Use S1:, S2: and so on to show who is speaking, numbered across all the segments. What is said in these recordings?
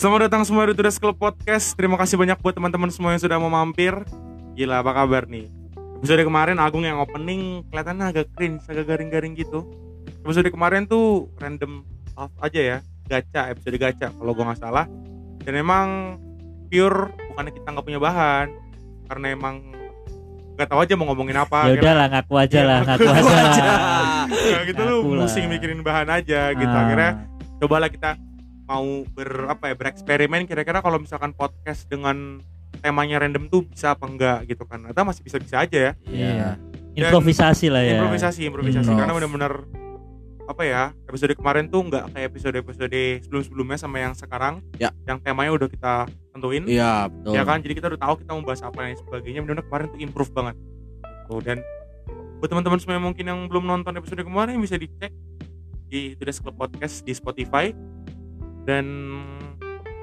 S1: Selamat datang semua di Tudas Club Podcast. Terima kasih banyak buat teman-teman semua yang sudah mau mampir. Gila, apa kabar nih? Episode kemarin Agung yang opening kelihatannya agak cringe, agak garing-garing gitu. Episode kemarin tuh random off aja ya, gacha, episode gacha kalau gua nggak salah. Dan emang pure bukannya kita nggak punya bahan, karena emang nggak tahu aja mau ngomongin apa.
S2: ya udahlah ngaku aja
S1: Ya,
S2: lah ngaku aja lah
S1: Nah, gitu lu
S2: Ngaku lah.
S1: pusing mikirin bahan aja gitu.
S2: Ah,
S1: Akhirnya cobalah kita mau ber apa ya bereksperimen kira-kira kalau misalkan podcast dengan temanya random tuh bisa apa enggak gitu kan atau masih bisa-bisa aja ya
S2: iya improvisasi lah ya
S1: improvisasi improvisasi
S2: Improv.
S1: karena benar-benar apa ya episode kemarin tuh nggak kayak episode episode sebelum-sebelumnya sama yang sekarang
S3: Ya.
S1: yang temanya udah kita tentuin
S3: Iya betul.
S1: ya kan jadi kita udah tahu kita mau bahas apa dan sebagainya benar-benar kemarin tuh improve banget tuh dan buat teman-teman semua yang mungkin yang belum nonton episode kemarin bisa dicek di Tudas Club Podcast di Spotify dan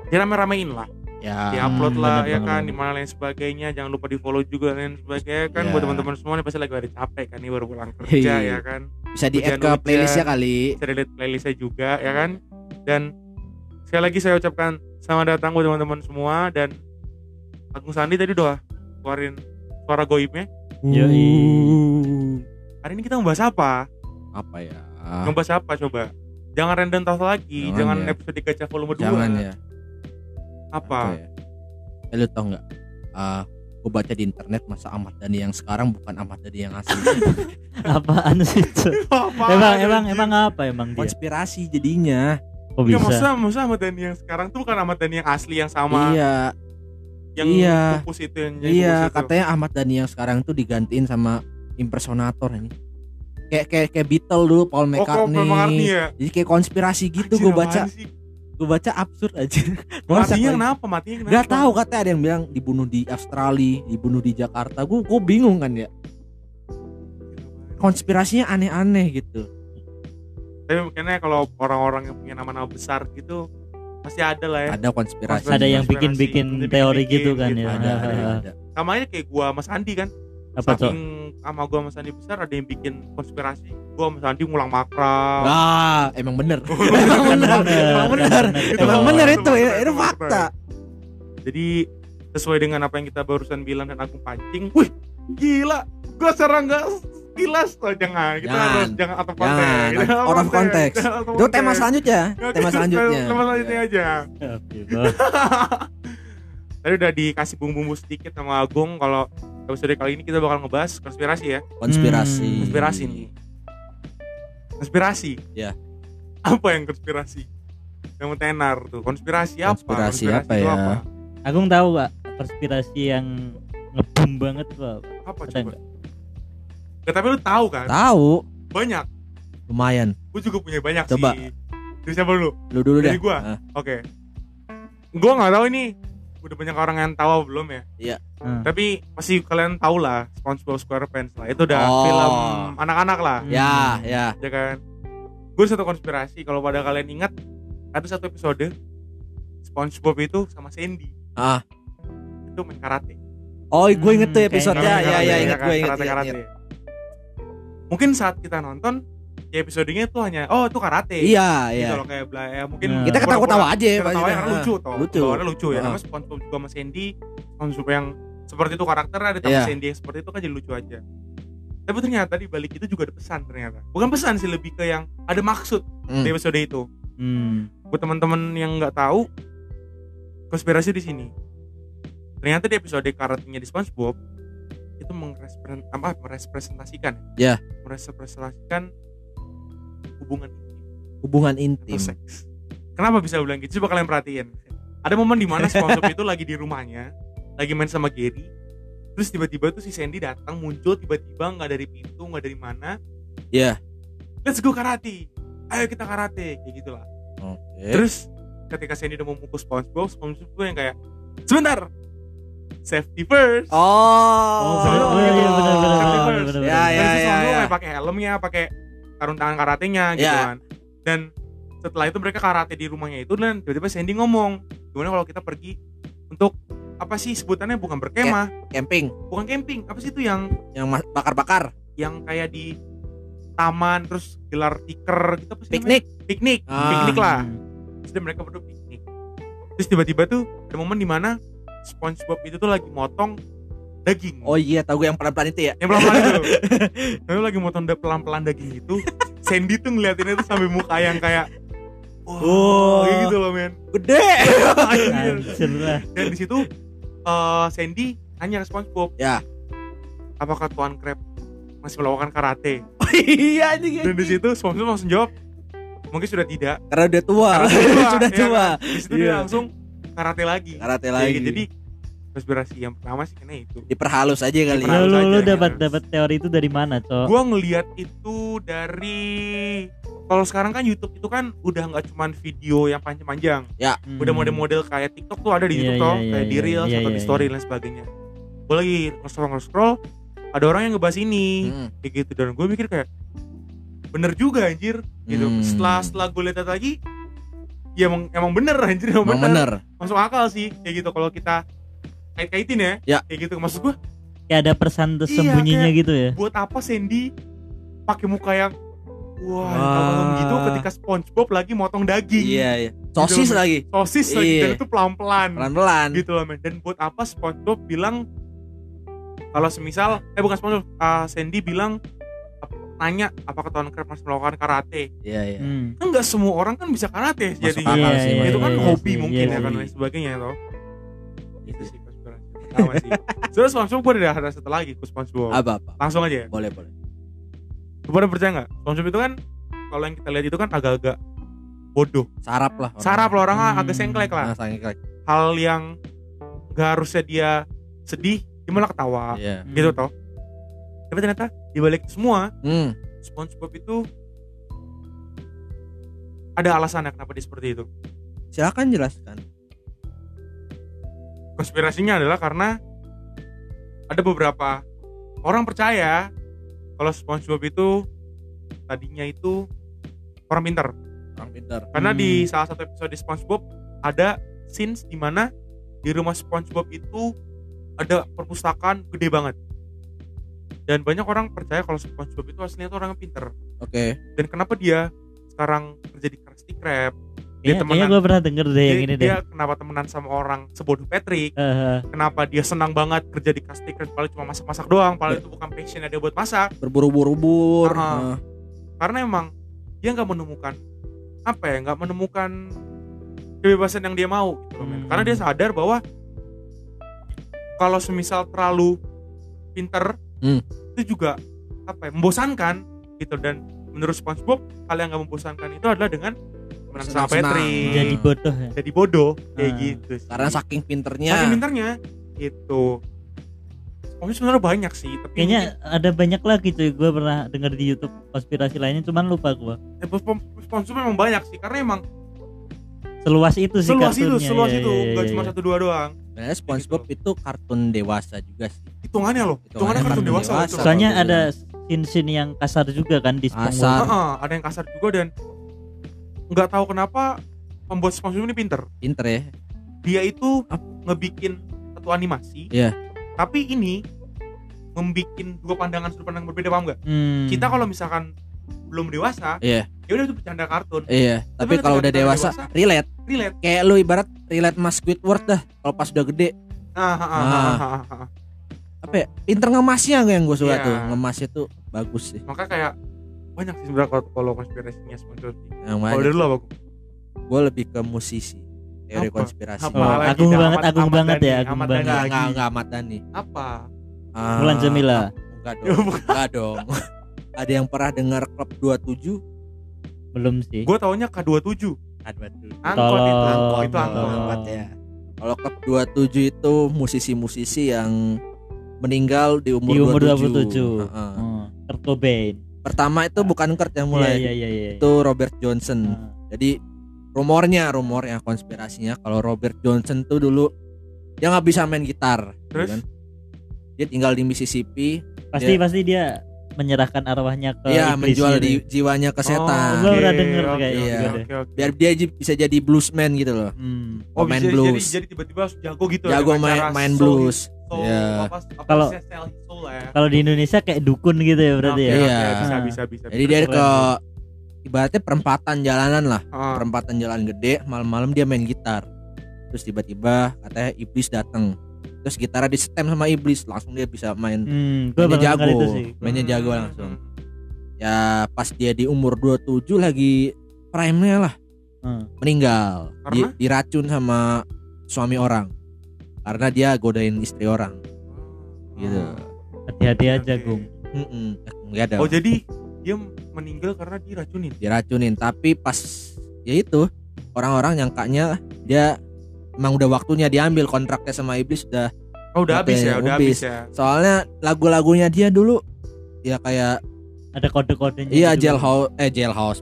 S1: dirame-ramein lah
S3: Ya.
S1: diupload lah
S2: bener,
S1: ya
S2: bener,
S1: kan
S2: bener.
S1: di mana lain sebagainya jangan lupa di follow juga dan sebagainya kan
S3: Ya.
S1: buat teman-teman semua nih pasti lagi pada capek kan nih baru pulang kerja
S3: Hei.
S1: ya kan
S3: Bisa di add ke
S1: Hujan-hujan.
S3: playlistnya kali.
S1: bisa dilihat playlistnya juga ya kan dan sekali lagi saya ucapkan selamat datang buat teman-teman semua dan Agung Sandi tadi udah keluarin suara goibnya
S2: Yoi.
S1: hari ini kita membahas apa
S3: Apa ya?
S1: membahas apa coba jangan random tas lagi jangan,
S3: Jangan ya.
S1: episode gacha volume 2
S3: Jangan ya.
S1: apa
S3: ya? Eh, lu tau nggak? Ah, gue baca di internet masa Ahmad Dhani yang sekarang bukan Ahmad Dhani yang asli.
S1: Iya.
S2: apaan sih itu
S1: apa
S2: emang emang emang apa emang dia
S3: Konspirasi jadinya.
S2: kok
S1: Nggak,
S2: bisa
S1: Oh, maksudnya, maksudnya Ahmad Dhani yang sekarang tuh bukan Ahmad Dhani yang asli yang sama
S3: iya,
S1: yang
S3: iya.
S1: pupus itu yang jadi
S3: iya.
S1: pupus itu.
S3: Katanya Ahmad Dhani yang sekarang tuh digantiin sama impersonator ini. Kayak kayak kayak Beatle dulu Paul
S1: Oh, kok
S3: McCartney.
S1: Paul McCartney ya?
S3: Jadi kayak konspirasi gitu
S1: Anjir,
S3: gue
S1: apaan
S3: baca.
S1: sih?
S3: Gue baca absurd aja. Masa
S1: Matinya
S3: kayak-
S1: kenapa? Matinya kenapa?
S3: Gak tahu katanya ada yang bilang dibunuh di Australia, dibunuh di Jakarta. Gue gue bingung kan ya.
S1: Gitu kan.
S3: Konspirasinya aneh-aneh gitu.
S1: Tapi kayaknya kalau orang-orang yang punya nama-nama besar gitu pasti ada lah ya.
S3: Ada konspirasi.
S2: ada yang
S1: konspirasi,
S2: bikin-bikin
S1: bikin-bikin
S2: teori gitu kan
S1: gitu.
S2: ya
S3: ada, ada,
S2: Ah,
S3: ada.
S1: Sama aja kayak gua sama Sandi kan.
S2: apa tuh
S1: Saking sama gua sama Sandi besar ada yang bikin konspirasi. Gua sama Sandi ngulang makram.
S3: Nah, emang bener.
S2: Kan
S3: emang bener.
S2: bener,
S3: Emang
S2: kan
S3: bener.
S2: bener.
S3: Emang
S2: Betul.
S3: bener itu. Itu,
S1: Betul,
S3: itu
S1: betul,
S3: fakta.
S1: Jadi sesuai dengan apa yang kita barusan bilang dan aku pancing. Wih, gila. Gua sekarang enggak sekilas tuh jangan. Kita
S3: Jangan.
S1: harus jangan atau
S3: Jangan.
S1: konteks. Jangan
S3: Out of context.
S1: Jangan out of
S3: Itu tema
S1: context.
S3: selanjutnya.
S1: Oke,
S3: Tema selanjutnya.
S1: Tema selanjutnya aja.
S2: Oke, bah.
S1: Tadi udah dikasih bumbu-bumbu sedikit sama Agung kalau episode kali ini kita bakal ngebahas konspirasi ya.
S3: Konspirasi.
S2: Hmm,
S1: Konspirasi nih. Konspirasi.
S3: Ya.
S1: Apa yang konspirasi? Yang tenar tuh. Konspirasi apa?
S3: Konspirasi apa
S1: itu
S3: ya?
S2: Agung tahu pak konspirasi yang ngebum banget pak
S1: Apa
S2: Ada
S1: Oh, coba? Nggak, tapi lu tahu kan?
S3: Tahu.
S1: Banyak.
S3: Lumayan.
S1: Gue juga punya banyak
S3: Coba.
S1: sih. Dari siapa dulu?
S3: Lu dulu deh.
S1: Dari gua.
S3: Ah,
S1: Oke. Gua nggak tahu ini udah banyak orang yang tahu apa belum ya.
S3: Iya.
S2: Hmm.
S1: Tapi pasti kalian tahu lah SpongeBob SquarePants lah. Itu udah
S3: Oh.
S1: film anak-anak lah.
S3: Ya, ya.
S1: ya kan gue satu konspirasi kalau pada kalian ingat ada satu episode SpongeBob itu sama Sandy
S3: Ah.
S1: itu main karate
S3: Oh, gue inget tuh
S2: Hmm,
S3: episode-nya.
S1: Karate,
S2: kayaknya.
S3: Ya,
S1: karate,
S3: ya, inget
S1: kan?
S3: gue inget.
S1: karate
S3: inget,
S1: karate
S3: inget.
S1: mungkin saat kita nonton ya episodenya itu hanya oh itu karate
S3: Iya, iya.
S1: kalau kayak bla ya mungkin
S2: Hmm.
S3: Kita ketawa-ketawa aja ya.
S1: kita ketawa karena
S3: maksudnya.
S1: lucu toh
S3: lucu.
S1: Ketawaannya lucu ya
S3: Ah.
S1: karena SpongeBob juga sama Sandy SpongeBob yang seperti itu karakternya ada
S3: Iya.
S1: sama Sandy yang seperti itu kan jadi lucu aja tapi ternyata di balik itu juga ada pesan ternyata bukan pesan sih lebih ke yang ada maksud
S3: Hmm.
S1: di episode itu
S2: Hmm.
S1: buat teman-teman yang nggak tahu konspirasi di sini ternyata di episode karatnya di SpongeBob itu mengrepresent apa merepresentasikan
S3: Ya.
S1: merepresentasikan hubungan intim
S3: hubungan
S1: atau
S3: intim.
S1: seks kenapa bisa bilang gitu coba kalian perhatiin ada momen dimana SpongeBob itu lagi di rumahnya lagi main sama Gary terus tiba-tiba tuh si Sandy datang muncul tiba-tiba nggak dari pintu nggak dari mana
S3: Ya.
S1: let's go karate ayo kita karate kayak gitulah
S3: Oke.
S1: Terus ketika Sandy udah mau mukul SpongeBob, SpongeBob tuh yang kayak sebentar. Safety first.
S3: Oh.
S1: sebelum-
S2: iya, iya, benar, benar,
S1: Tapi first.
S2: benar, benar, benar.
S3: Ya,
S1: Terus
S3: ya,
S1: si
S3: ya,
S1: SpongeBob
S3: ya.
S1: kayak pakai helmnya, pakai sarung tangan karatenya gitu
S3: Ya.
S1: kan. Dan setelah itu mereka karate di rumahnya itu dan tiba-tiba Sandy ngomong, "Gimana kalau kita pergi untuk apa sih sebutannya bukan berkemah,
S3: Ya. Camping
S1: bukan camping. Apa sih itu yang
S3: yang mas- bakar-bakar,
S1: yang kayak di taman terus gelar tiker gitu apa sih namanya?
S3: piknik.
S1: Piknik.
S3: Ah.
S1: Piknik lah. Terus dia mereka berdua piknik terus tiba-tiba tuh ada momen dimana SpongeBob itu tuh lagi motong daging
S3: Oh iya, tahu gue yang pelan-pelan itu ya.
S1: yang pelan-pelan itu Lalu lagi motong da- pelan-pelan daging itu gitu, Sandy tuh ngeliatinnya tuh sampai muka yang kayak Wah
S3: Oh.
S1: kayak gitu loh men
S3: Gede.
S1: Anjir.
S2: Anjir lah.
S1: Dan di situ eh, Sandy nanya ke SpongeBob
S3: Ya.
S1: Apakah Tuan Crab masih melakukan karate?
S3: Oh iya anjing.
S1: Dan di situ SpongeBob langsung jawab Mungkin sudah tidak
S3: karena udah tua.
S1: Karena udah tua,
S3: Sudah
S1: iya
S3: tua.
S1: Di situ
S3: Iya.
S1: dia langsung karate lagi
S3: Karate
S1: Jadi-
S3: lagi.
S1: Jadi konspirasi yang pertama sih kena itu
S3: diperhalus aja kali. ya.
S1: Diperhalus.
S2: Lu lu, lu
S1: aja,
S2: dapat
S1: gitu.
S2: dapat teori itu dari mana, Cok?
S1: gua ngeliat itu dari kalau sekarang kan YouTube itu kan udah nggak cuman video yang panjang-panjang,
S2: Hmm.
S1: udah model-model kayak TikTok tuh ada di YouTube
S2: Iya, iya,
S1: toh,
S2: iya,
S1: kayak di
S2: iya,
S1: Reels
S2: iya,
S1: atau
S2: iya,
S1: di Story dan sebagainya. Gue lagi scroll scroll, ada orang yang ngebahas ini,
S3: Hmm.
S1: kayak gitu dan gue mikir kayak bener juga anjir, gitu.
S3: Hmm.
S1: Setelah setelah gue lihat lagi, ya emang emang bener anjir, emang,
S3: Emang
S1: Oh, bener.
S3: bener.
S1: Masuk akal sih, kayak gitu kalau kita kait-kaitin ya,
S3: Ya.
S1: kayak gitu. Maksud gue
S2: Kayak ada
S1: Iya,
S2: pesan tersembunyinya gitu ya.
S1: buat apa Sandy pakai muka yang wah
S3: Wah.
S1: kalau gitu ketika SpongeBob lagi motong daging
S3: Iya, iya.
S1: Gitu.
S3: Sosis lagi.
S1: sosis lagi
S3: Iya.
S1: dan itu pelan-pelan
S3: Pelan-pelan.
S1: gitu loh men dan buat apa SpongeBob bilang kalau semisal eh bukan SpongeBob ah, Sandy bilang ap- nanya apakah Tuan Crab masih melakukan karate
S3: Iya, iya.
S2: Hmm.
S1: kan nggak semua orang kan bisa karate jadi
S3: Masuk akal sih, Mas.
S1: itu kan
S3: Iya,
S1: hobi
S2: sih,
S1: mungkin
S2: iya
S1: ya kan
S2: sih.
S1: dan sebagainya toh
S3: Gitu
S1: itu
S3: sih.
S1: sih konspirasi pertama sih terus SpongeBob gue ada ada satu lagi ke SpongeBob
S3: Apa apa.
S1: langsung aja ya
S3: Boleh, boleh.
S1: Lu pada percaya nggak? Konsum itu kan kalau yang kita lihat itu kan agak-agak bodoh.
S3: Sarap lah.
S1: Sarap lah orang
S2: Hmm.
S1: agak sengklek lah.
S3: Nah, sangat keren.
S1: Hal yang nggak harusnya dia sedih, dia malah ketawa.
S3: Iya.
S1: Gitu toh. Tapi ternyata dibalik itu semua,
S3: Hmm.
S1: SpongeBob itu ada alasannya kenapa dia seperti itu.
S3: Silakan jelaskan.
S1: Konspirasinya adalah karena ada beberapa orang percaya kalau SpongeBob itu tadinya itu orang pintar.
S3: Orang pintar.
S1: Karena
S2: Hmm.
S1: di salah satu episode di SpongeBob ada scenes di mana di rumah SpongeBob itu ada perpustakaan gede banget. Dan banyak orang percaya kalau SpongeBob itu aslinya tuh orang yang pinter.
S3: Oke.
S1: Dan kenapa dia sekarang kerja di Krusty Krab? Dia
S2: Kayaknya, kayaknya
S1: temenan.
S2: gue pernah denger deh yang
S1: dia,
S2: ini Iya, deh.
S1: dia kenapa temenan sama orang sebodoh Patrick?
S2: Heeh.
S1: Kenapa dia senang banget kerja di Krusty Krab? Padahal cuma masak-masak doang.
S2: Iya.
S1: Padahal itu bukan passionnya dia buat masak.
S3: Berburu-buru.
S1: Ah. Karena emang dia nggak menemukan apa ya? Nggak menemukan kebebasan yang dia mau. gitu loh, men.
S2: Hmm.
S1: Karena dia sadar bahwa kalau semisal terlalu pinter
S3: Hmm.
S1: itu juga apa ya membosankan gitu dan menurut SpongeBob hal yang nggak membosankan itu adalah dengan menang sama
S3: Senang-senang.
S1: Patrick jadi,
S2: jadi bodoh ya.
S1: bodoh kayak
S2: Ah.
S1: gitu sih.
S3: Karena saking pinternya.
S1: Saking pinternya gitu Tapi sebenarnya banyak sih tapi
S2: Kayaknya ada banyak lagi cuy gue pernah denger di YouTube konspirasi lainnya cuman lupa gue.
S1: mungkin- eh, pos- SpongeBob memang banyak sih karena emang
S2: Seluas itu sih
S1: seluas itu
S2: kartunnya.
S1: seluas
S2: Iya,
S1: itu
S2: iya,
S1: nggak
S2: iya,
S1: cuma
S2: iya.
S1: satu dua doang
S3: Sebenarnya SpongeBob itu kartun dewasa juga sih.
S1: hitungannya loh hitungannya
S3: Hitungannya
S1: kartun
S2: kartun
S1: dewasa,
S3: dewasa.
S1: loh, itu.
S2: Soalnya
S3: Betul.
S2: ada scene-scene yang kasar juga kan di
S3: Kasar.
S2: SpongeBob.
S1: Heeh, ada yang kasar juga dan nggak tahu kenapa pembuat SpongeBob ini pinter.
S3: Pinter ya.
S1: Dia itu
S3: Ap-
S1: ngebikin satu animasi.
S3: Iya.
S1: Tapi ini membikin dua pandangan sudut pandang berbeda paham nggak?
S2: Hmm.
S1: Kita kalau misalkan belum dewasa,
S3: Iya.
S1: ya udah itu bercanda kartun.
S3: Iya. Tapi
S1: ketika
S3: kalau udah
S1: kita
S3: dewasa,
S1: dewasa-
S3: relate.
S1: Relate.
S3: Kayak lu ibarat relate mas Squidward dah. Kalau pas udah gede,
S1: Nah, ha, ha,
S2: Ah.
S1: ha, ha, ha, ha.
S3: apa ya? Pinter ngemasnya yang gue suka
S1: Iya.
S3: tuh. Ngemasnya tuh bagus sih.
S1: maka kayak banyak sih sebenarnya kalau- kalau konspirasinya SpongeBob. ini.
S3: Yang
S1: Kalau dari
S3: mana?
S1: lu apa? Gung?
S3: Gue Nah, lebih ke musisi. Teori
S1: Apa?
S3: konspirasi.
S1: Apa?
S2: Oh,
S1: Malah
S2: agung
S1: kita
S2: banget,
S1: Ahmad-
S2: agung
S1: Ahmad
S2: banget ya,
S1: Dhani,
S2: agung
S1: Ahmad
S2: banget.
S3: Enggak,
S1: lagi.
S3: enggak, enggak Ahmad Dhani.
S1: Apa?
S3: Ah,
S2: Mulan Jamila.
S3: Enggak dong. enggak dong. Ada yang pernah dengar klub 27?
S2: Belum sih.
S1: Gue taunya K27.
S3: Ada
S1: Angkot
S3: dulu.
S1: itu,
S2: Tolong,
S1: angkot itu
S2: tolong.
S1: angkot.
S3: Angkot ya. Kalau klub 27 itu musisi-musisi yang meninggal di umur,
S2: Di umur 27.
S3: 27. Heeh.
S2: Oh, Kurt Cobain.
S3: Pertama itu bukan Kurt yang mulai.
S2: Iya iya iya. iya.
S3: Itu Robert Johnson.
S2: Ah.
S3: Jadi rumornya, rumornya konspirasinya kalau Robert Johnson tuh dulu dia nggak bisa main gitar.
S1: Terus?
S3: ya kan? Dia tinggal di Mississippi,
S2: Pasti pasti dia menyerahkan arwahnya ke iblis
S3: dia Iya. menjual
S2: gitu.
S3: di, jiwanya ke setan.
S2: Oh, Gua
S1: oke,
S2: pernah denger
S1: oke,
S2: kayak
S1: oke,
S3: gitu
S1: oke, oke.
S3: Biar dia j- bisa jadi bluesman gitu loh.
S2: Hmm.
S1: Oh,
S3: Pemain
S1: jadi,
S3: blues.
S1: Jadi, jadi tiba-tiba harus jago gitu.
S3: Jago
S1: dengan
S3: main
S1: cara
S3: main
S1: soul-
S3: blues.
S1: soul,
S3: Iya.
S1: Apa, apa
S2: Kalau-
S1: sih, sell his soul lah ya.
S2: Kalau di Indonesia kayak dukun gitu ya berarti
S1: Oke,
S2: ya.
S1: oke,
S3: Iya.
S1: Bisa, bisa, bisa.
S3: Jadi dia
S2: Keren,
S3: ke ibaratnya perempatan jalanan lah,
S1: Ah,
S3: perempatan jalan gede, malam-malam dia main gitar. terus tiba-tiba katanya iblis datang terus gitarnya di stem sama iblis langsung dia bisa main
S2: Hmm, gue
S3: mainnya
S2: pernah
S3: jago
S2: kali itu sih. Hmm.
S3: mainnya jago langsung ya pas dia di umur 27 lagi prime-nya lah
S2: Hmm.
S3: meninggal Di-
S1: Karena?
S3: diracun sama suami orang karena dia godain istri orang gitu Iya.
S2: Hati-hati aja,
S1: Ah. Oke.
S2: Gung.
S3: Mm-mm. nggak ada
S1: Oh jadi dia meninggal karena diracunin.
S3: diracunin tapi pas ya itu orang-orang nyangkanya dia emang udah waktunya diambil kontraknya sama iblis udah
S1: Oh udah
S3: Oke,
S1: habis ya, udah
S3: habis.
S1: habis ya.
S3: soalnya lagu-lagunya dia dulu ya kayak
S2: Ada kode-kodenya.
S3: iya
S2: gitu.
S3: jailhouse eh jailhouse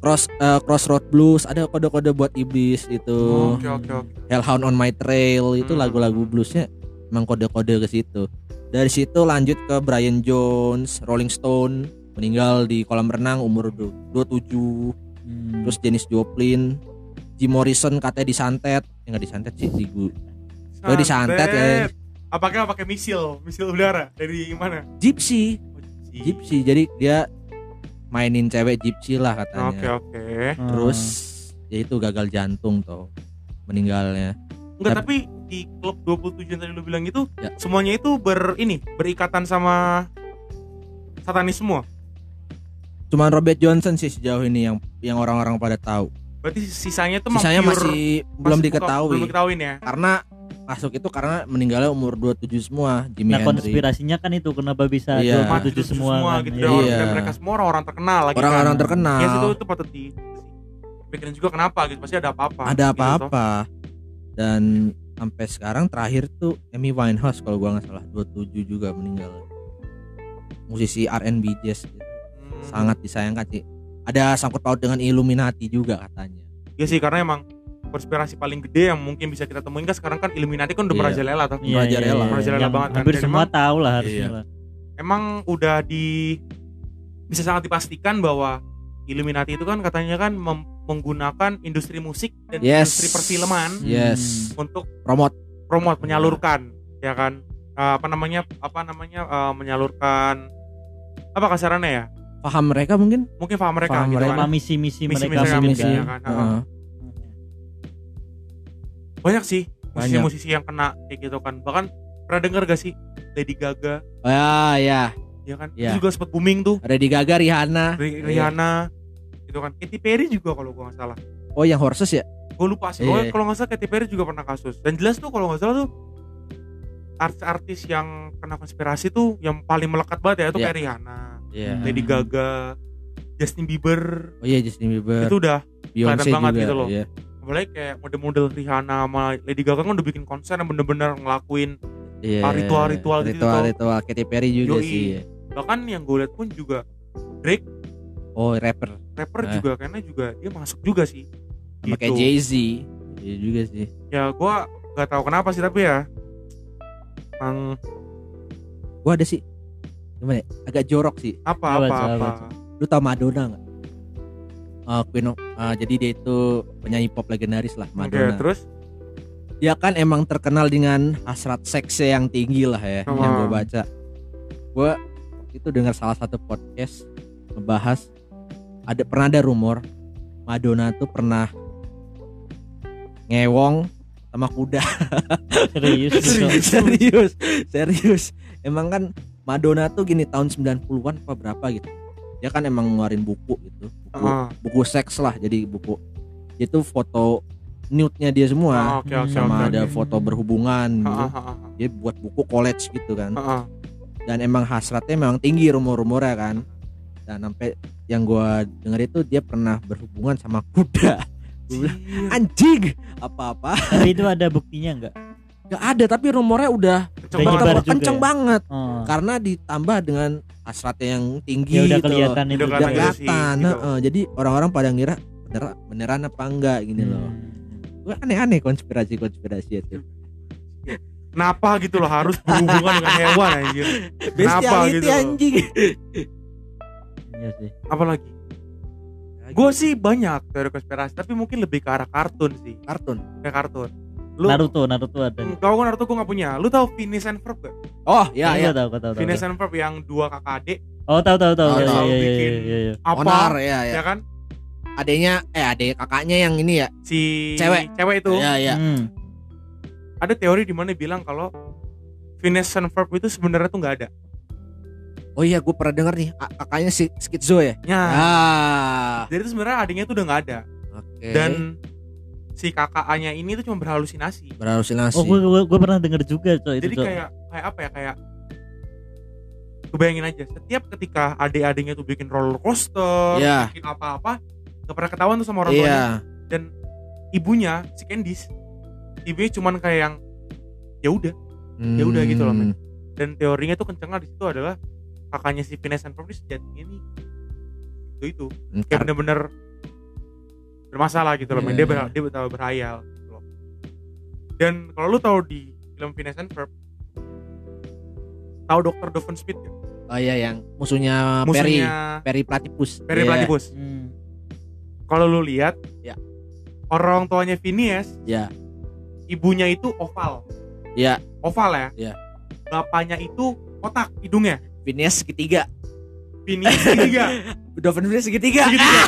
S3: cross eh, crossroad blues ada kode-kode buat iblis itu
S1: Oke oke oke.
S3: hellhound on my trail itu
S1: Oh. Hmm.
S3: lagu-lagu bluesnya emang kode-kode ke situ dari situ lanjut ke Brian Jones Rolling Stone meninggal di kolam renang umur du- 27
S2: Hmm.
S3: terus Janis Joplin Jim Morrison katanya disantet ya nggak disantet sih di gu- Oh, disantet ya.
S1: Apakah pakai misil, misil udara dari mana?
S3: Gypsy
S1: Oh, Oke
S3: Gypsy jadi dia mainin cewek Gypsy lah katanya
S1: oke.
S2: Hmm.
S3: terus ya itu gagal jantung tuh meninggalnya
S1: Enggak
S3: Tapi-
S1: tapi di klub 27 yang tadi lu bilang itu
S3: Ya.
S1: semuanya itu ber ini berikatan sama satanis semua.
S3: cuman Robert Johnson sih sejauh ini yang yang orang-orang pada tahu
S1: Berarti sisanya itu
S3: sisanya masih belum diketahui
S1: Belum diketahui ya.
S3: karena masuk itu karena meninggalnya umur 27 semua Jimi
S2: Nah
S3: Hendrix
S2: konspirasinya kan itu kenapa bisa
S3: Iya.
S2: dua
S1: Mati
S2: tujuh semua, kan.
S1: gitu
S2: Iya.
S1: dan,
S3: Iya.
S1: dan mereka semua orang-orang terkenal lagi
S3: orang-orang
S1: kan.
S3: terkenal
S1: Ya itu itu patut di pikirin juga kenapa gitu pasti ada apa-apa.
S3: ada
S1: gitu, toh.
S3: apa-apa dan sampai sekarang terakhir tuh Amy Winehouse kalau gua nggak salah 27 juga meninggal musisi R&B jazz gitu.
S1: Hmm.
S3: sangat disayangkan sih ada sangkut paut dengan Illuminati juga katanya
S1: Iya sih karena emang konspirasi paling gede yang mungkin bisa kita temuin kan sekarang kan Illuminati kan udah
S3: Iya.
S1: merajalela tuh.
S2: Iya, iya,
S3: Merajalela.
S2: iya.
S1: Merajalela
S2: Yang
S1: banget kan.
S2: Hampir
S1: Dan
S2: semua
S1: emang-
S2: tahu lah harusnya.
S3: Iya.
S2: lah.
S1: Emang udah di bisa sangat dipastikan bahwa Illuminati itu kan katanya kan mem- menggunakan industri musik dan
S3: yes
S1: industri perfilman
S3: Hmm.
S2: Hmm.
S3: yes
S1: untuk
S3: promote
S1: promote menyalurkan ya kan Eh, apa namanya apa namanya eh, menyalurkan apa kasarannya ya
S3: paham mereka mungkin
S1: mungkin paham mereka
S3: Paham
S1: gitu
S3: mereka.
S2: Sama
S1: kan
S2: misi-misi
S1: Misi-misi
S2: mereka
S1: mereka,
S2: mungkin
S1: misi-misi.
S2: kan.
S1: kan?
S3: Heeh.
S1: banyak sih
S3: Banyak.
S1: musisi-musisi yang kena kayak gitu kan bahkan pernah dengar gak sih Lady Gaga
S3: Oh, ya ya
S1: ya kan
S3: Iya.
S1: itu juga sempat booming tuh
S3: Lady Gaga Rihanna
S1: Ri-
S3: Iya.
S1: Rihanna gitu kan Katy Perry juga kalau gua nggak salah
S3: oh yang horses ya
S1: gue lupa sih
S3: Iya.
S1: Pokoknya kalau nggak salah Katy Perry juga pernah kasus dan jelas tuh kalau nggak salah tuh artis-artis yang kena konspirasi tuh yang paling melekat banget ya itu
S3: Iya.
S1: kayak Rihanna
S2: Iya.
S1: Lady Gaga Justin Bieber
S3: Hmm. oh iya Justin Bieber
S1: itu udah
S3: Beyonce
S1: kelihatan banget
S3: juga
S1: gitu loh.
S3: iya.
S1: apalagi kayak model-model Rihanna sama Lady Gaga kan udah bikin konser yang bener-bener ngelakuin
S3: Iya.
S1: Ah, ritual-ritual gitu
S3: ritual
S1: tuh.
S3: ritual Katy Perry juga
S1: Yoi.
S3: sih iya.
S1: bahkan yang gue lihat pun juga
S3: oh rapper
S1: rapper
S3: Nah.
S1: juga karena juga dia masuk juga sih Gitu.
S3: sama kayak Jay Z iya juga sih
S1: ya gue nggak tahu kenapa sih tapi ya tentang
S3: gua ada sih gimana ya? agak jorok sih
S1: apa
S2: Apa,
S1: apa
S2: apa,
S1: apa
S2: apa.
S3: lu tau Madonna nggak Eh, Queen of- eh, jadi dia itu penyanyi pop legendaris lah
S1: oke
S3: Madonna
S1: terus
S3: dia kan emang terkenal dengan hasrat seksnya yang tinggi lah ya
S1: Hmm.
S3: yang gue baca gue itu dengar salah satu podcast ngebahas ada pernah ada rumor Madonna tuh pernah ngewong sama kuda
S2: Serius gitu.
S3: serius serius serius emang kan Madonna tuh gini tahun 90-an apa berapa gitu dia kan emang ngeluarin buku gitu buku,
S1: Ah,
S3: buku seks lah jadi buku itu foto nude-nya dia
S1: ah,
S3: semua
S1: oke oke
S2: sama
S1: oke,
S3: sama
S1: oke
S3: ada foto berhubungan
S1: Ah,
S2: Iya.
S3: gitu
S1: ah, ah,
S3: dia buat buku college gitu kan
S1: ah, ah.
S3: dan emang hasratnya memang tinggi rumor-rumornya kan dan sampai yang gua denger itu dia pernah berhubungan sama kuda
S2: Iya.
S3: Gua bilang,
S1: Cier,
S3: anjing apa-apa
S2: Tapi itu ada buktinya enggak?
S3: nggak ada tapi rumornya udah
S1: kenceng
S2: Udah
S1: banget.
S2: nyebar
S3: Kita
S2: juga
S3: kenceng
S2: ya?
S3: banget
S2: Oh.
S3: karena ditambah dengan hasratnya yang tinggi
S2: Ya udah
S3: gitu loh.
S2: kelihatan itu.
S1: Udah
S3: udah
S1: Karena
S2: juga.
S1: kelihatan. ilusi
S3: kelihatan
S1: gitu.
S3: heeh. jadi orang-orang pada ngira bener beneran apa enggak gini loh
S2: Hmm.
S3: Gua aneh-aneh konspirasi-konspirasi itu
S1: Kenapa gitu loh harus berhubungan dengan hewan anjir. Kenapa
S3: bestiality
S1: gitu loh?
S3: anjing
S2: Iya sih.
S1: Apalagi? Gue sih banyak teori konspirasi, tapi mungkin lebih ke arah kartun sih.
S3: kartun
S1: Kayak kartun. Lu
S2: Naruto, Naruto ada.
S1: Hmm, Kalau gue Naruto gue gak punya. Lu tahu Phineas and Ferb gak?
S3: oh ya
S2: Iya,
S3: ya
S2: tahu, tahu, tahu.
S1: Phineas and Ferb yang dua kakak adik
S2: Oh, tahu, tahu, tahu.
S3: Tahu,
S2: Iya,
S1: tahu,
S2: iya, iya,
S1: bikin
S2: iya, iya.
S1: apa
S3: onar ya ya
S1: ya kan?
S3: adeknya eh adek kakaknya yang ini ya.
S1: si
S3: Cewek.
S1: itu
S3: Iya iya.
S2: Hmm.
S1: ada teori di mana bilang kalau Phineas and Ferb itu sebenarnya tuh nggak ada
S2: Hmm.
S3: Oh iya gue pernah denger nih a- kakaknya si skizo ya.
S1: ya
S3: Ah.
S1: jadi itu sebenarnya adiknya tuh udah nggak ada
S3: Oke.
S1: dan si kakaknya ini tuh cuma berhalusinasi
S3: berhalusinasi.
S2: Oh, gue gue pernah denger juga coy itu.
S1: jadi
S2: coy.
S1: kayak kayak apa ya kayak kebayangin aja setiap ketika adik-adiknya tuh bikin roller coaster
S3: Iya.
S1: bikin apa-apa nggak pernah ketahuan tuh sama orang tuanya
S3: Iya.
S1: ibunya si Candice ibunya cuman kayak yang ya udah Ya udah gitu loh, men.
S3: Hmm.
S1: dan teorinya tuh kencengnya di situ adalah kakaknya si Phineas and Ferb ini sejatinya nih itu itu kayak
S3: hmm. Ntar-
S1: bener-bener bermasalah gitu loh men. dia
S3: Iya,
S1: ber, dia betapa berhayal gitu loh. dan kalau lu tahu di film Phineas and Ferb tahu dokter Doofenshmirtz ya?
S3: Oh iya yang musuhnya,
S1: musuhnya
S3: Perry Perry Platypus.
S1: Perry
S3: Iya.
S1: Platypus
S2: Hmm.
S1: kalau lu lihat
S3: Ya.
S1: orang tuanya Phineas
S3: Iya.
S1: ibunya itu oval
S3: Iya.
S1: oval ya
S3: Iya.
S1: bapaknya itu kotak hidungnya
S3: Phineas segitiga.
S1: Phineas ketiga
S3: Doven Phineas segitiga.
S1: Segitiga.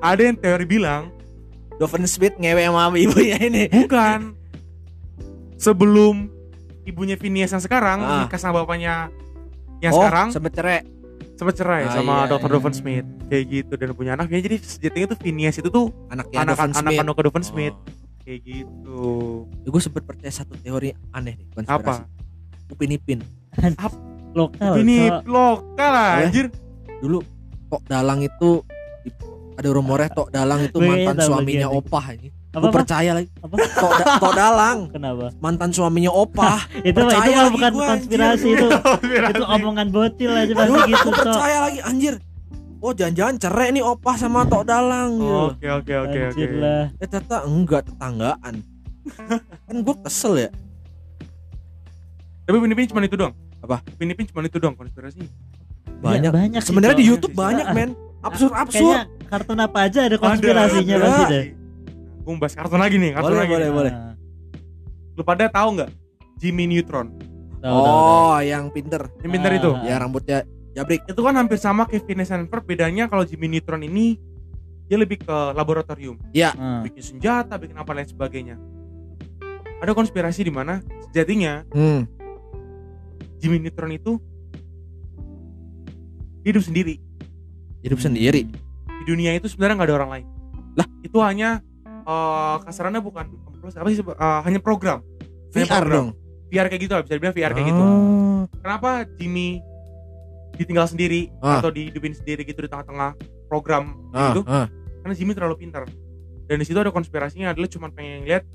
S1: ada yang teori bilang
S3: Doven Smith ngewe sama ibunya ini.
S1: bukan sebelum ibunya Phineas yang sekarang
S3: Ah.
S1: nikah sama bapaknya yang sekarang
S3: Oh, sempet cerai.
S1: sempat cerai
S3: Ah,
S1: sama
S3: iya,
S1: Dr.
S3: iya.
S1: Doven Smith kayak gitu dan punya anak ya jadi sejatinya tuh Phineas itu tuh
S3: Anaknya
S1: anak
S3: Doven
S1: anak
S3: Iya, Smith. Oh.
S1: anak Doven Smith kayak gitu
S3: Gue sempet percaya satu teori aneh nih
S1: apa
S3: konspirasi. Upin Ipin.
S2: Lokal.
S1: ini
S2: coy.
S1: lokal
S3: Eh,
S1: anjir
S3: Dulu Tok Dalang itu ada rumornya Tok Dalang itu
S2: Gue
S3: mantan
S2: tahu
S3: suaminya
S2: bagian ini.
S3: Opah ini.
S2: apa,
S3: Gue
S2: apa?
S3: percaya lagi.
S2: Apa?
S3: Tok, Da- Tok Dalang
S2: Kenapa?
S3: mantan suaminya Opah.
S2: Itu mah- itu
S3: Percaya
S2: mah
S3: lagi
S2: bukan
S3: gua,
S2: konspirasi
S3: anjir.
S2: itu.
S1: Konspirasi.
S2: itu omongan bocil aja
S3: Aduh,
S2: pasti gitu,
S3: gue
S2: coy.
S3: percaya lagi anjir. Oh jangan-jangan cerai nih Opah sama Tok Dalang.
S1: Oh,
S3: gitu loh.
S1: oke oke oke oke
S2: Anjir lah.
S3: Eh ternyata enggak tetanggaan. kan gue kesel ya.
S1: tapi pinipin cuma itu doang
S3: Apa?
S1: pinipin cuma itu doang konspirasi
S2: Ya,
S3: Banyak.
S2: banyak. sih,
S3: Sebenarnya
S2: coy.
S3: di YouTube
S1: Sih,
S3: banyak
S2: sih.
S3: men. Absurd absurd.
S2: Kayaknya kartun apa aja ada konspirasinya gitu.
S3: ada.
S2: pasti deh.
S1: gue bahas kartun lagi nih kartun
S3: Boleh,
S1: lagi
S3: boleh.
S2: Nah,
S1: lu pada tahu nggak Jimmy Neutron
S2: tahu, tahu, tahu.
S3: Oh, yang pinter.
S1: yang pintar
S2: Ah.
S1: itu
S3: Ya rambutnya jabrik.
S1: itu kan hampir sama kayak Phineas and Ferb bedanya kalau Jimmy Neutron ini dia lebih ke laboratorium
S3: Hmm.
S2: Nah,
S1: bikin senjata bikin apa lain sebagainya ada konspirasi di mana sejatinya
S3: Hmm.
S1: Jimmy Neutron itu dia hidup sendiri
S3: Hidup sendiri.
S1: di dunia itu sebenarnya nggak ada orang lain
S3: Lah?
S1: itu hanya eh, kasarannya bukan plus apa sih eh, hanya program Hanya
S3: VR
S1: program.
S3: dong.
S1: VR kayak gitu lah bisa dibilang VR kayak gitu
S3: Ah.
S1: kenapa Jimmy ditinggal sendiri
S3: Ah.
S1: atau dihidupin sendiri gitu di tengah-tengah program
S3: Ah,
S1: Gitu.
S3: ah.
S1: karena Jimmy terlalu pintar dan di situ ada konspirasinya adalah cuma pengen lihat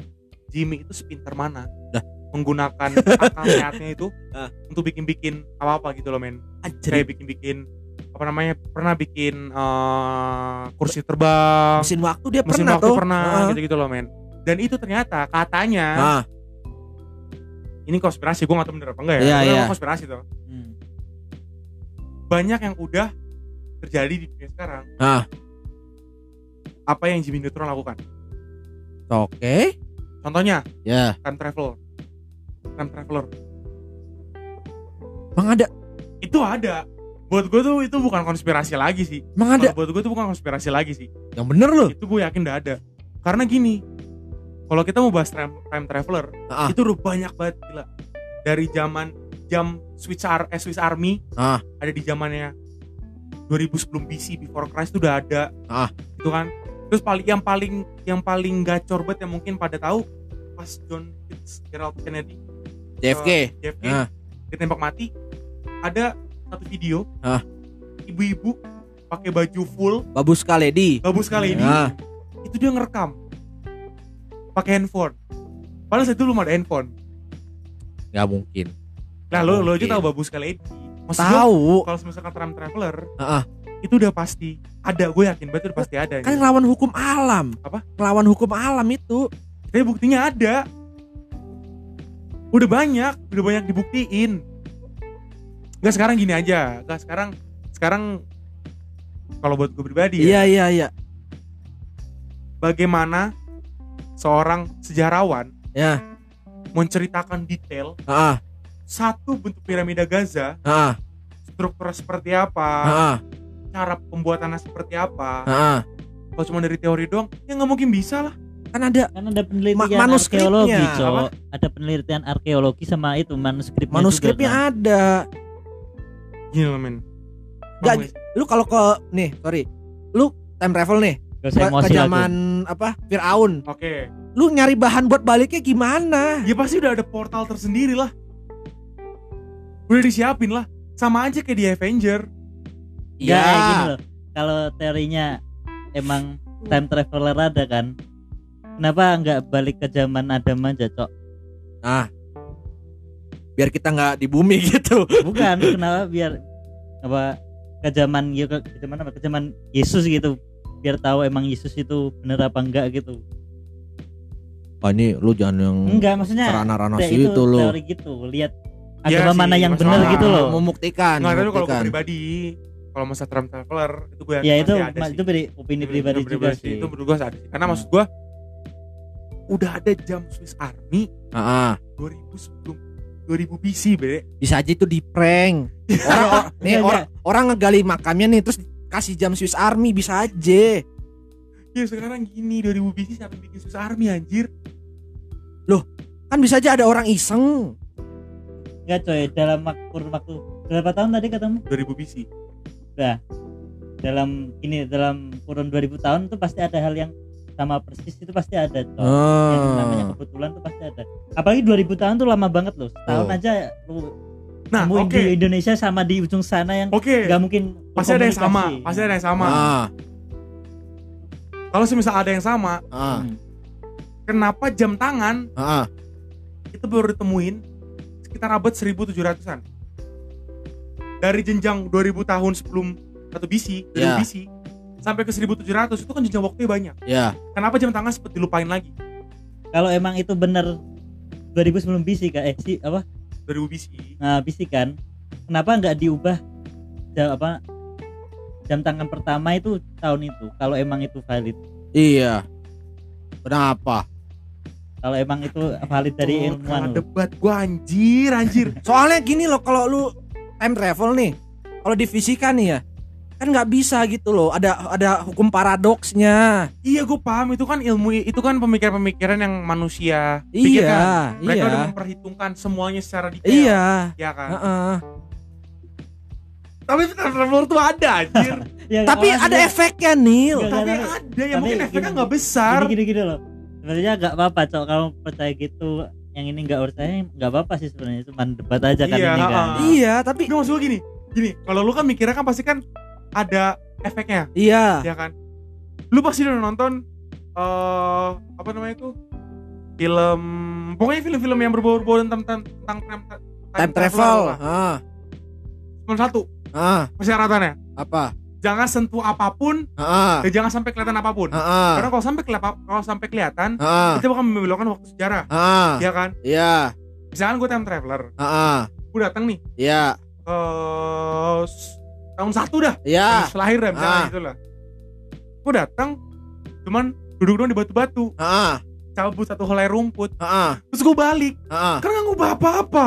S1: Jimmy itu sepintar mana
S3: Dah.
S1: menggunakan akal sehatnya itu
S3: Ah.
S1: untuk bikin-bikin apa-apa gitu loh men
S3: Anjir.
S1: kayak bikin-bikin apa namanya pernah bikin eh, kursi terbang
S3: Mesin waktu dia
S1: mesin
S3: pernah
S1: waktu
S3: tuh.
S1: pernah gitu kan.
S3: Ah.
S1: gitu-gitu loh men dan itu ternyata katanya
S3: Ah,
S1: ini konspirasi gue gak tau bener apa enggak ya
S3: Iya,
S1: Tapi
S3: iya.
S1: emang konspirasi tuh
S2: Hmm.
S1: banyak yang udah terjadi di dunia sekarang
S3: Ah.
S1: apa yang Jimmy Neutron lakukan
S3: oke.
S1: contohnya
S3: Ya,
S1: time travel time traveler
S3: emang ada,
S1: itu ada buat gue tuh itu bukan konspirasi lagi sih
S3: emang ada.
S1: Kalau buat gue tuh bukan konspirasi lagi sih
S3: Yang bener loh.
S1: itu gue yakin udah ada karena gini kalau kita mau bahas time, time traveler
S3: Ah.
S1: itu udah banyak banget gila dari zaman jam Swiss, Ar eh, Swiss Army
S3: Ah.
S1: ada di zamannya 2000 sebelum BC before Christ itu udah ada
S3: Ah.
S1: itu kan terus paling yang paling yang paling gacor banget yang mungkin pada tahu pas John Fitzgerald Kennedy
S3: JFK.
S1: JFK
S3: Ah.
S1: ditembak mati ada satu video
S3: Ah.
S1: ibu-ibu pakai baju full
S3: Babuska Lady.
S1: bagus sekali ini
S3: Ah.
S1: itu dia ngerekam pakai handphone padahal saat itu belum ada handphone
S3: Gak mungkin.
S1: nah lo lo
S3: Mungkin.
S1: aja tahu bagus sekali ini Maksud gua,
S3: Tahu.
S1: kalau misalkan time traveler
S3: Ah, ah.
S1: itu udah pasti ada gue yakin banget udah pasti ada
S3: Kan
S1: ya.
S3: ngelawan hukum alam.
S1: Apa?
S3: Ngelawan hukum alam itu.
S1: tapi buktinya ada udah banyak udah banyak dibuktiin nggak sekarang gini aja nggak sekarang sekarang kalau buat gue pribadi ya,
S3: Iya, iya, iya.
S1: bagaimana seorang sejarawan
S3: Ya.
S1: menceritakan detail
S3: Ah,
S1: satu bentuk piramida Gaza
S3: ah,
S1: strukturnya seperti apa
S3: ah,
S1: cara pembuatannya seperti apa
S3: Heeh.
S1: kalau cuma dari teori doang ya nggak mungkin bisa lah
S3: kan ada
S2: kan ada penelitian
S3: Ma- manuskripnya,
S2: arkeologi
S1: apa?
S2: cok ada penelitian arkeologi sama itu manuskripnya juga,
S3: manuskripnya
S2: kan.
S3: ada
S1: gila men
S3: Nggak, lu kalau ke nih sorry lu time travel nih
S2: Gak usah
S3: ke, ke
S2: emosi lah,
S3: zaman apa Firaun
S1: oke
S3: lu nyari bahan buat baliknya gimana
S1: ya pasti udah ada portal tersendiri lah udah disiapin lah sama aja kayak di Avenger
S2: Nggak, Iya, kayak gini loh. Kalau teorinya emang time traveler ada kan. Kenapa nggak balik ke zaman Adam aja, Cok?
S3: nah biar kita nggak di bumi gitu
S2: Bukan, kenapa biar apa ke zaman ya ke, ke zaman apa? Ke zaman Yesus gitu. Biar tahu emang Yesus itu bener apa enggak gitu.
S3: ah, ini lu jangan yang
S1: Hmm.
S2: Enggak, maksudnya
S3: rana-rana
S2: te-
S3: situ lu Ah,
S2: teori gitu. Lihat
S1: Iya
S2: agama
S1: sih,
S2: mana yang
S1: masuk
S2: benar
S1: akal.
S2: gitu loh.
S3: membuktikan
S1: nggak tapi kalau gue
S3: membuktikan.
S1: pribadi kalau masa time traveler itu gue
S2: Ya itu
S1: masih ada
S2: ma-
S1: sih.
S2: itu pri- opini
S1: Itu
S2: pribadi juga sih.
S1: itu menurut gue ada sih karena
S2: Hmm.
S1: maksud gue udah ada jam Swiss Army
S3: Ah, ah.
S1: 2000 sebelum 2000 BC bre
S3: bisa aja itu di prank orang or- nih
S2: Enggak,
S3: orang orang ngegali makamnya nih terus kasih jam Swiss Army bisa aja
S1: ya sekarang gini 2000 BC siapa yang bikin Swiss Army anjir
S3: kan bisa aja ada orang iseng
S2: Enggak, coy. Dalam wak- kurun waktu berapa tahun tadi ketemu?
S1: 2000 BC
S2: dalam ini dalam kurun 2000 tahun itu pasti ada hal yang sama persis itu pasti ada
S1: Oh.
S2: toh. yang namanya
S3: ah.
S2: kebetulan itu pasti ada apalagi 2000 tahun tuh lama banget loh tahun
S3: Oh.
S2: aja lu
S1: nah
S2: temuin
S1: oke
S2: di Indonesia sama di ujung sana yang
S1: oke
S2: nggak mungkin
S1: pasti ada yang sama
S2: berkomunikasi.
S1: pasti ada yang sama
S3: ah,
S1: kalau semisal ada yang sama
S3: ah,
S2: Hmm.
S1: kenapa jam tangan
S3: ah.
S1: itu baru ditemuin sekitar abad 1700-an dari jenjang 2000 tahun sebelum 1 BC, 2000
S3: Ya.
S1: BC sampai ke 1700 itu kan jenjang waktunya banyak
S3: ya
S1: kenapa jam tangan seperti dilupain lagi
S2: kalau emang itu bener 2000 sebelum BC kak eh si apa
S1: 2000 BC
S2: nah, BC kan kenapa nggak diubah jam apa jam tangan pertama itu tahun itu kalau emang itu valid
S3: iya kenapa
S2: kalau emang itu valid dari
S1: Oh,
S2: ilmuwan
S1: kalah
S2: loh.
S1: debat gua anjir anjir
S3: soalnya gini loh kalau lu time travel nih kalau di fisika nih ya kan nggak bisa gitu loh ada ada hukum paradoksnya
S1: iya gua paham itu kan ilmu itu kan pemikiran-pemikiran yang manusia pikirkan
S3: iya
S1: mereka
S3: iya
S1: udah memperhitungkan semuanya secara detail
S3: iya
S1: ya kan
S3: Heeh.
S1: tapi time traveler tuh ada anjir
S2: Ya,
S3: tapi
S2: orang
S3: ada
S2: juga-
S3: efeknya Nil
S2: Enggak,
S1: tapi
S2: enggak,
S1: ada ya
S2: tapi
S1: mungkin efeknya
S2: gini-
S1: nggak besar
S2: gini gini gini loh sebenarnya nggak apa-apa cok kalau percaya gitu yang ini nggak percaya nggak apa-apa sih sebenarnya cuma debat aja kan
S1: Iya,
S2: ini kan
S1: ah.
S3: iya tapi
S1: Nggak maksud gue gini Gini Kalau lu kan mikirnya kan pasti kan Ada efeknya
S3: iya
S1: Ya kan Lu pasti udah nonton eh Apa namanya itu Film Pokoknya film-film yang berbau-bau tentang, tentang, tentang time,
S3: time travel
S1: lah.
S3: ah
S1: Nomor satu
S3: ah
S1: Persyaratannya
S3: apa
S1: Jangan sentuh apapun
S3: ah
S1: Dan jangan sampai kelihatan apapun
S3: ah
S1: Karena kalau sampai kelihatan Kalau sampai kelihatan
S3: ah
S1: Kita bakal membelokkan waktu sejarah
S3: ah
S1: Ya kan
S3: iya
S1: Misalkan gue time traveler
S3: ah
S1: Gue datang nih
S3: iya
S1: Ke Tahun satu dah
S3: iya
S1: Terus lahir ya misalnya
S3: Ah.
S1: gitu lah gue datang cuman duduk doang di batu-batu
S3: ah
S1: cabut satu helai rumput
S3: ah
S1: terus gue balik
S3: ah
S1: kan nggak ngubah apa-apa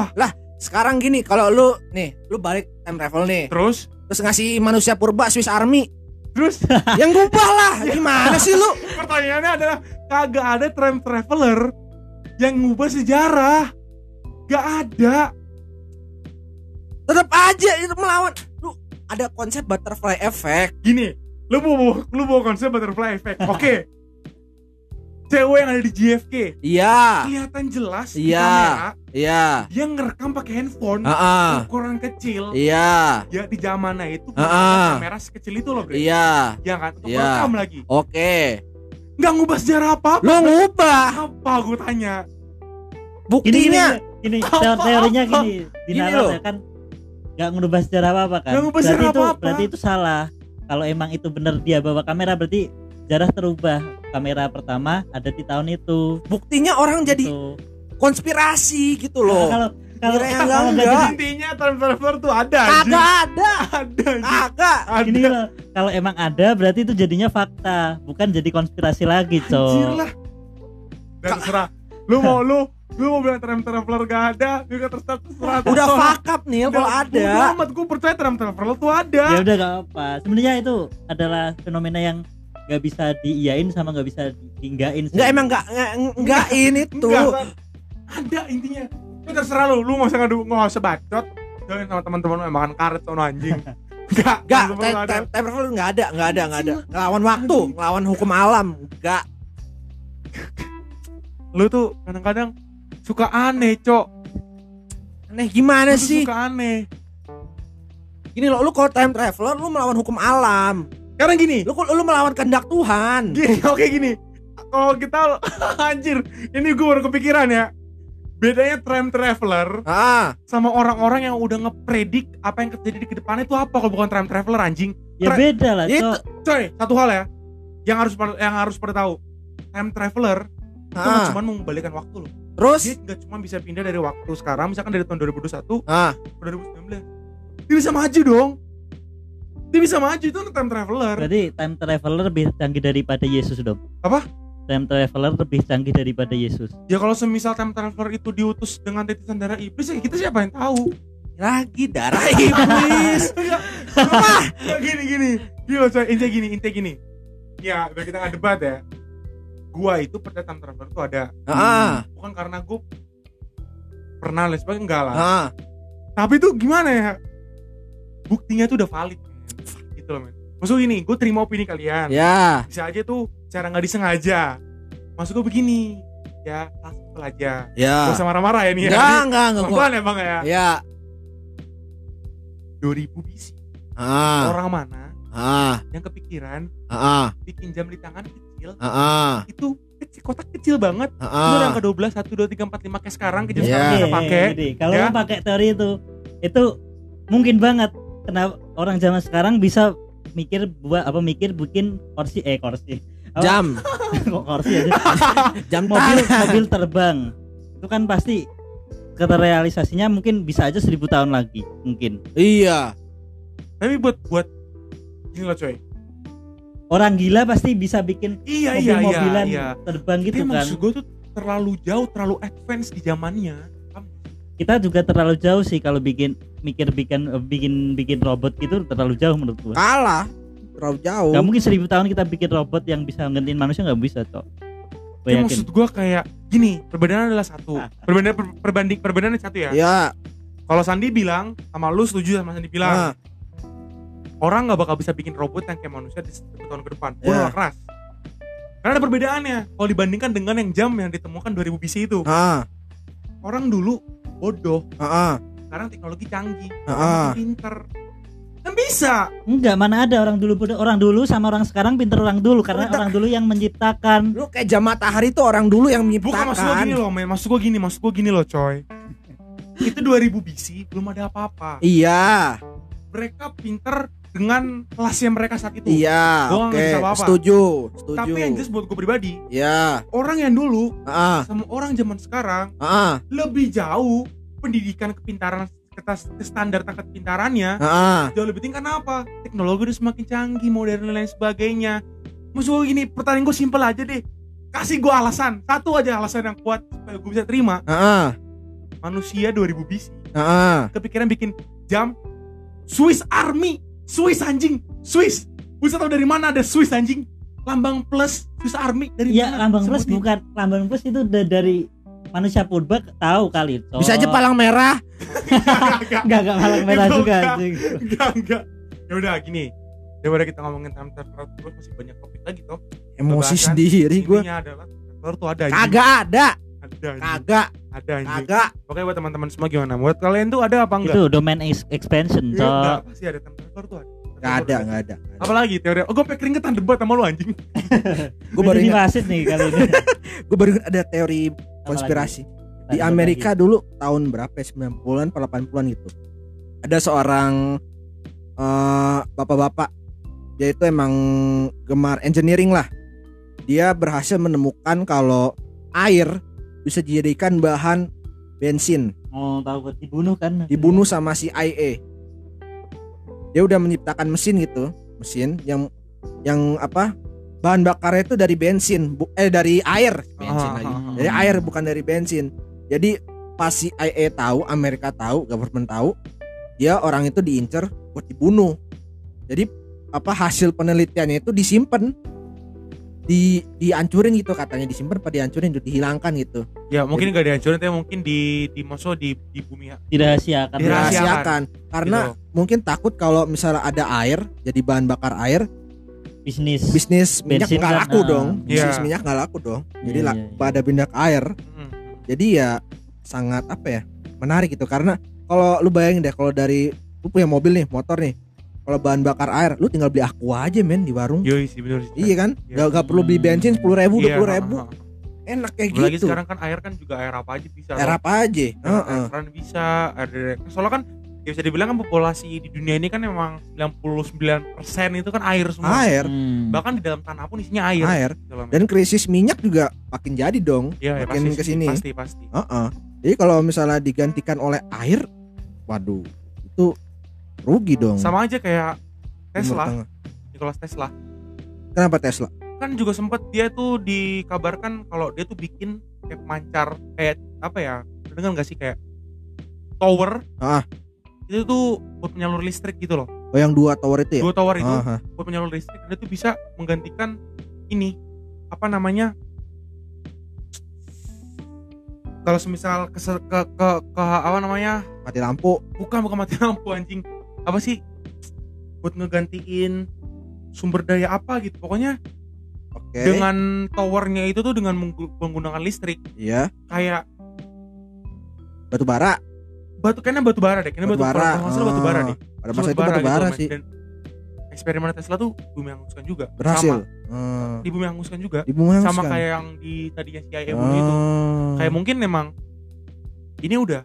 S3: sekarang gini kalau lu nih lu balik time travel nih
S1: terus
S3: terus ngasih manusia purba Swiss Army
S1: terus
S3: yang gubah lah gimana sih lu
S1: pertanyaannya adalah kagak ada time traveler yang ngubah sejarah gak ada
S3: tetap aja itu melawan lu ada konsep butterfly effect
S1: gini lu mau bawa, lu bawa konsep butterfly effect oke cewek yang ada di JFK
S3: iya
S1: kelihatan jelas di
S3: Iya.
S1: kamera
S3: iya
S1: dia ngerekam pakai handphone
S3: ah
S1: ukuran kecil
S3: iya
S1: ya di zamannya itu
S3: Ah, ah.
S1: kamera sekecil itu loh bre
S3: iya
S1: ya kan untuk
S3: Iya.
S1: merekam lagi
S3: oke
S1: nggak ngubah sejarah apa
S3: lu ngubah
S1: apa gue tanya
S2: gini gini
S3: buktinya
S2: gini
S1: Apa,
S2: teor- teorinya
S1: apa?
S2: gini dinalar
S3: loh.
S2: ya kan nggak ngerubah sejarah apa apa kan
S1: Nggak ngerubah
S2: berarti
S1: sejarah
S2: itu
S1: apa-apa.
S2: berarti itu salah kalau emang itu bener dia bawa kamera berarti sejarah terubah kamera pertama ada di tahun itu
S3: buktinya orang jadi
S2: gitu.
S3: konspirasi gitu
S2: Nah,
S3: loh
S2: kalau kalau
S3: Kirain
S2: kalau
S3: enggak,
S2: nggak
S3: enggak.
S2: jadi-
S1: intinya time traveler tuh ada anjing.
S3: kagak Ah, ada
S1: ada anjing.
S3: kagak
S2: gini
S1: ada
S2: loh kalau emang ada berarti itu jadinya fakta bukan jadi konspirasi lagi
S1: anjir
S2: cok
S1: lah dan terserah lu mau lu Gue mau bilang time traveler gak ada, gue gak terserah terserah.
S3: Udah fuck up Nil kalau ada. Iya.
S1: Amat gue percaya time traveler tuh ada.
S2: ya udah gak apa sebenarnya itu adalah fenomena yang gak bisa diiyain sama gak bisa dihinggain sih.
S3: Enggak emang enggak enggak ini
S1: Enggak,
S3: tuh.
S1: San. ada intinya. Itu terserah lu, lu gak usah ngadu, gak usah bacot. Jangan sama teman-teman lu yang makan karet sono anjing. Enggak,
S3: Enggak,
S1: teman-teman
S3: time
S1: lu ada.
S3: time time travel enggak ada, enggak ada, enggak ada. Ngelawan waktu, ngelawan hukum alam, enggak.
S1: Lu tuh kadang-kadang suka aneh, Cok.
S3: Aneh gimana
S1: Lu tuh
S3: sih?
S1: Suka aneh.
S3: Gini loh, lu kalau time traveler lu melawan hukum alam.
S1: Karena gini,
S3: Lu lu melawan kehendak Tuhan.
S1: gini oke gini kalau kita anjir ini gue baru kepikiran ya bedanya time traveler
S3: Ah,
S1: sama orang-orang yang udah ngepredik apa yang terjadi di kedepannya itu apa kalau bukan time traveler anjing
S2: ya
S1: Tra-
S2: beda lah
S3: itu.
S2: Cok.
S1: coy satu hal ya yang harus pada- yang harus pada tahu time traveler itu nggak
S3: ah.
S1: cuma membalikkan waktu loh
S3: Terus
S1: dia nggak cuma bisa pindah dari waktu sekarang misalkan dari tahun 2021
S3: ah,
S1: ke 2019 dia bisa maju dong dia bisa maju itu time traveler
S2: berarti time traveler lebih canggih daripada Yesus dong
S1: Apa?
S2: time traveler lebih canggih daripada Yesus
S1: ya kalau semisal time traveler itu diutus dengan titisan darah iblis ya kita siapa yang tahu
S3: lagi darah iblis.
S1: Mah, gini gini. Gini loh, coy. intinya gini, intinya gini. Ya, biar kita nggak debat ya. Gua itu percaya time traveler tuh ada.
S3: Ah,
S1: Bukan karena gua pernah les sebagainya enggak lah.
S3: ah.
S1: Tapi itu gimana ya? Buktinya tuh udah valid. men. Gitu loh, men. Maksud gini, gua terima opini kalian.
S3: Ya,
S1: Bisa aja tuh cara nggak disengaja. Maksud gua begini, ya simpel aja. Gak
S3: ya.
S1: usah marah-marah ya nih ya.
S3: Enggak, enggak, enggak gua.
S1: Pelan ya bang ya.
S3: Ya.
S1: 2000 BC.
S3: Ah,
S1: Orang mana
S3: ah,
S1: yang kepikiran
S3: ah,
S1: bikin jam di tangan kecil
S3: ah, ah,
S1: itu kecil kotak kecil banget itu
S3: ah.
S1: yang ke 12 1 2 3 4 5 kayak sekarang ke jam
S3: Iya.
S1: sekarang bisa Gitu, pakai
S2: Gini, kalau
S1: ya.
S2: lu pakai teori itu itu mungkin banget kenapa orang zaman sekarang bisa mikir buat apa mikir bikin kursi eh kursi Apa?
S3: Jam,
S2: kok kursi aja
S3: jam
S2: mobil
S3: tangan.
S2: mobil terbang itu kan pasti keterrealisasinya mungkin bisa aja seribu tahun lagi mungkin
S3: Iya.
S1: tapi buat buat gini loh coy
S2: orang gila pasti bisa bikin
S1: iya iya iya
S2: mobil-mobilan
S1: iya
S2: terbang
S1: tapi
S2: gitu kan
S1: maksud gue tuh terlalu jauh terlalu advance di zamannya
S2: kita juga terlalu jauh sih kalau bikin mikir bikin bikin bikin robot gitu terlalu jauh menurut gua
S3: Kalah. Terlalu jauh.
S2: Gak mungkin seribu tahun kita bikin robot yang bisa nggantiin manusia nggak bisa cok. Gue
S1: tapi
S2: yakin.
S1: Ya, maksud gue kayak gini perbedaannya adalah satu perbedaan per, perbanding perbedaannya satu ya
S3: Ya.
S1: kalau Sandi bilang sama lu setuju sama Sandi bilang
S3: Ah,
S1: orang nggak bakal bisa bikin robot yang kayak manusia di satu tahun ke depan gue
S3: Iya.
S1: nolak keras karena ada perbedaannya kalau dibandingkan dengan yang jam yang ditemukan 2000 BC itu
S3: ah,
S1: orang dulu bodoh
S3: ah, ah,
S1: sekarang teknologi canggih
S3: ah.
S1: orang pinter kan bisa
S2: Enggak mana ada orang dulu bodoh. orang dulu sama orang sekarang pinter orang dulu karena
S3: Betul.
S2: orang dulu yang menciptakan.
S3: Lu kayak jam matahari tuh orang dulu yang
S1: bukan maksud gue gini
S3: menciptakan.
S1: loh men maksud gue gini maksud gue gini loh coy itu 2000 BC belum ada apa-apa
S3: Iya,
S1: mereka pinter dengan kelas yang mereka saat itu
S3: iya.
S1: Gua nggak
S3: Oke,
S1: bisa apa-apa.
S3: setuju, setuju.
S1: tapi yang jelas buat gue pribadi
S3: Ya,
S1: orang yang dulu
S3: ah,
S1: sama orang zaman sekarang
S3: ah, ah,
S1: lebih jauh pendidikan kepintaran ke tas- ke standar tingkat kepintarannya
S3: ah.
S1: jauh lebih penting karena apa? Teknologi udah semakin canggih, modern dan lain sebagainya. Maksud gue gini, pertanyaan gue simpel aja deh. Kasih gue alasan, satu aja alasan yang kuat supaya gue bisa terima.
S3: ah, ah,
S1: Manusia 2000 BC
S3: ah, ah.
S1: kepikiran bikin jam Swiss Army, Swiss anjing, Swiss. Bisa tau dari mana ada Swiss anjing? Lambang plus Swiss Army dari
S2: Iya
S1: mana?
S2: lambang plus
S1: Sebutin.
S2: bukan lambang plus itu udah dari manusia purba tahu kali. Cok.
S3: Bisa aja palang merah.
S1: Enggak,
S2: Enggak enggak malang merah
S1: Itu
S2: juga.
S1: enggak.
S2: anjing.
S1: enggak, enggak. Ya udah gini. Daripada kita ngomongin time travel terus masih banyak topik lagi toh.
S3: Emosi
S1: Bahkan
S3: sendiri gua.
S1: Intinya adalah time traveler tuh ada anjing.
S3: Kagak ada,
S1: Ada anjing.
S3: kagak,
S1: Ada anjing.
S3: kagak.
S1: Oke buat teman-teman semua gimana? Buat kalian tuh ada apa enggak?
S2: Itu domain ex- expansion.
S1: Iya, enggak,
S3: Nah,
S2: Cok.
S1: pasti ada time traveler tuh ada.
S3: Gak ada, gak ada. nggak ada.
S1: Apalagi teori. Oh, gue pengen keringetan debat sama lu anjing.
S3: Gue baru
S2: ini
S3: ingat,
S2: wasit nih kali ini.
S3: gue baru ingat ada teori konspirasi. di Amerika dulu tahun berapa ya 90-an atau 80-an gitu ada seorang eh, bapak-bapak dia itu emang gemar engineering lah dia berhasil menemukan kalau air bisa dijadikan bahan bensin
S2: Mau tahu buat dibunuh kan?
S3: dibunuh sama si IE dia udah menciptakan mesin gitu mesin yang yang apa bahan bakarnya itu dari bensin bu- eh dari air bensin
S1: Ah,
S3: lagi
S1: ah, ah.
S2: Hmm.
S3: dari air bukan dari bensin
S4: Jadi pas CIA tahu, Amerika tahu, government tahu, dia orang itu diincer buat dibunuh. Jadi apa hasil penelitiannya itu disimpan di dihancurin gitu katanya disimpan pada dihancurin gitu, dihilangkan gitu
S1: ya mungkin nggak dihancurin tapi mungkin di di maksud di di bumi ya, gitu.
S2: dirahasiakan Gitu.
S1: Dirahasiakan.
S4: dirahasiakan karena mungkin takut kalau misalnya ada air jadi bahan bakar air
S2: bisnis
S4: bisnis minyak
S2: Bensin
S4: nggak
S2: kan,
S4: laku
S2: ah.
S4: dong bisnis
S1: Iya.
S4: minyak nggak laku dong jadi
S2: Iya,
S4: la-
S2: iya, iya.
S4: pada pindah ke air
S1: Mm-mm.
S4: jadi ya sangat apa ya menarik gitu karena kalau lu bayangin deh kalau dari lu punya mobil nih motor nih kalau bahan bakar air lu tinggal beli aqua aja men di warung
S1: yoi sih bener sih
S4: iya kan
S1: Iya.
S4: nggak nggak perlu beli bensin sepuluh ribu dua puluh ribu enak kayak
S1: Apalagi
S4: gitu
S1: sekarang Iya. kan air kan juga air apa aja bisa
S4: air
S1: loh.
S4: apa aja
S1: Air
S4: Heeh.
S1: keran bisa air dari- soalnya kan ya bisa dibilang kan populasi di dunia ini kan memang 99% itu kan air semua
S4: air
S2: Hmm.
S1: bahkan di dalam tanah pun isinya air,
S4: air dan krisis minyak juga makin jadi dong
S1: ya, ya,
S4: makin
S1: pasti sih,
S4: kesini.
S1: pasti pasti
S4: Heeh. jadi kalau misalnya digantikan oleh air waduh itu rugi dong
S1: sama aja kayak
S4: Timur
S1: Tesla
S4: Tengah.
S1: Nikola Tesla
S4: kenapa Tesla
S1: kan juga sempat dia tuh dikabarkan kalau dia tuh bikin kayak pemancar kayak apa ya dengar nggak sih kayak tower
S4: Ah.
S1: itu tuh buat penyalur listrik gitu loh
S4: oh yang dua tower
S3: Iya.
S4: itu ya
S1: dua tower
S3: Ah.
S1: itu
S4: Aha.
S1: buat penyalur listrik dia tuh bisa menggantikan ini apa namanya kalau semisal ke, ke, ke, ke apa namanya
S4: mati lampu
S1: bukan bukan mati lampu anjing apa sih buat ngegantiin sumber daya apa gitu pokoknya
S4: oke
S1: dengan towernya itu tuh dengan menggu- menggunakan listrik
S4: iya
S1: kayak
S4: batu bara
S1: batu kayaknya batu bara deh kayaknya batu, bara
S4: Batubara,
S1: kalau nggak salah batu bara
S4: ah.
S1: deh
S4: pada masa itu batu bara
S1: men.
S4: sih
S1: Dan eksperimen Tesla tuh bumi hanguskan juga
S4: berhasil
S1: sama
S4: Hmm.
S3: Eh,
S1: di bumi hanguskan juga
S4: di bumi
S1: Iya. sama
S4: hanguskan.
S1: kayak yang di tadinya CIA bumi itu
S3: Eh.
S4: Ah.
S3: Hmm.
S1: kayak mungkin memang ini udah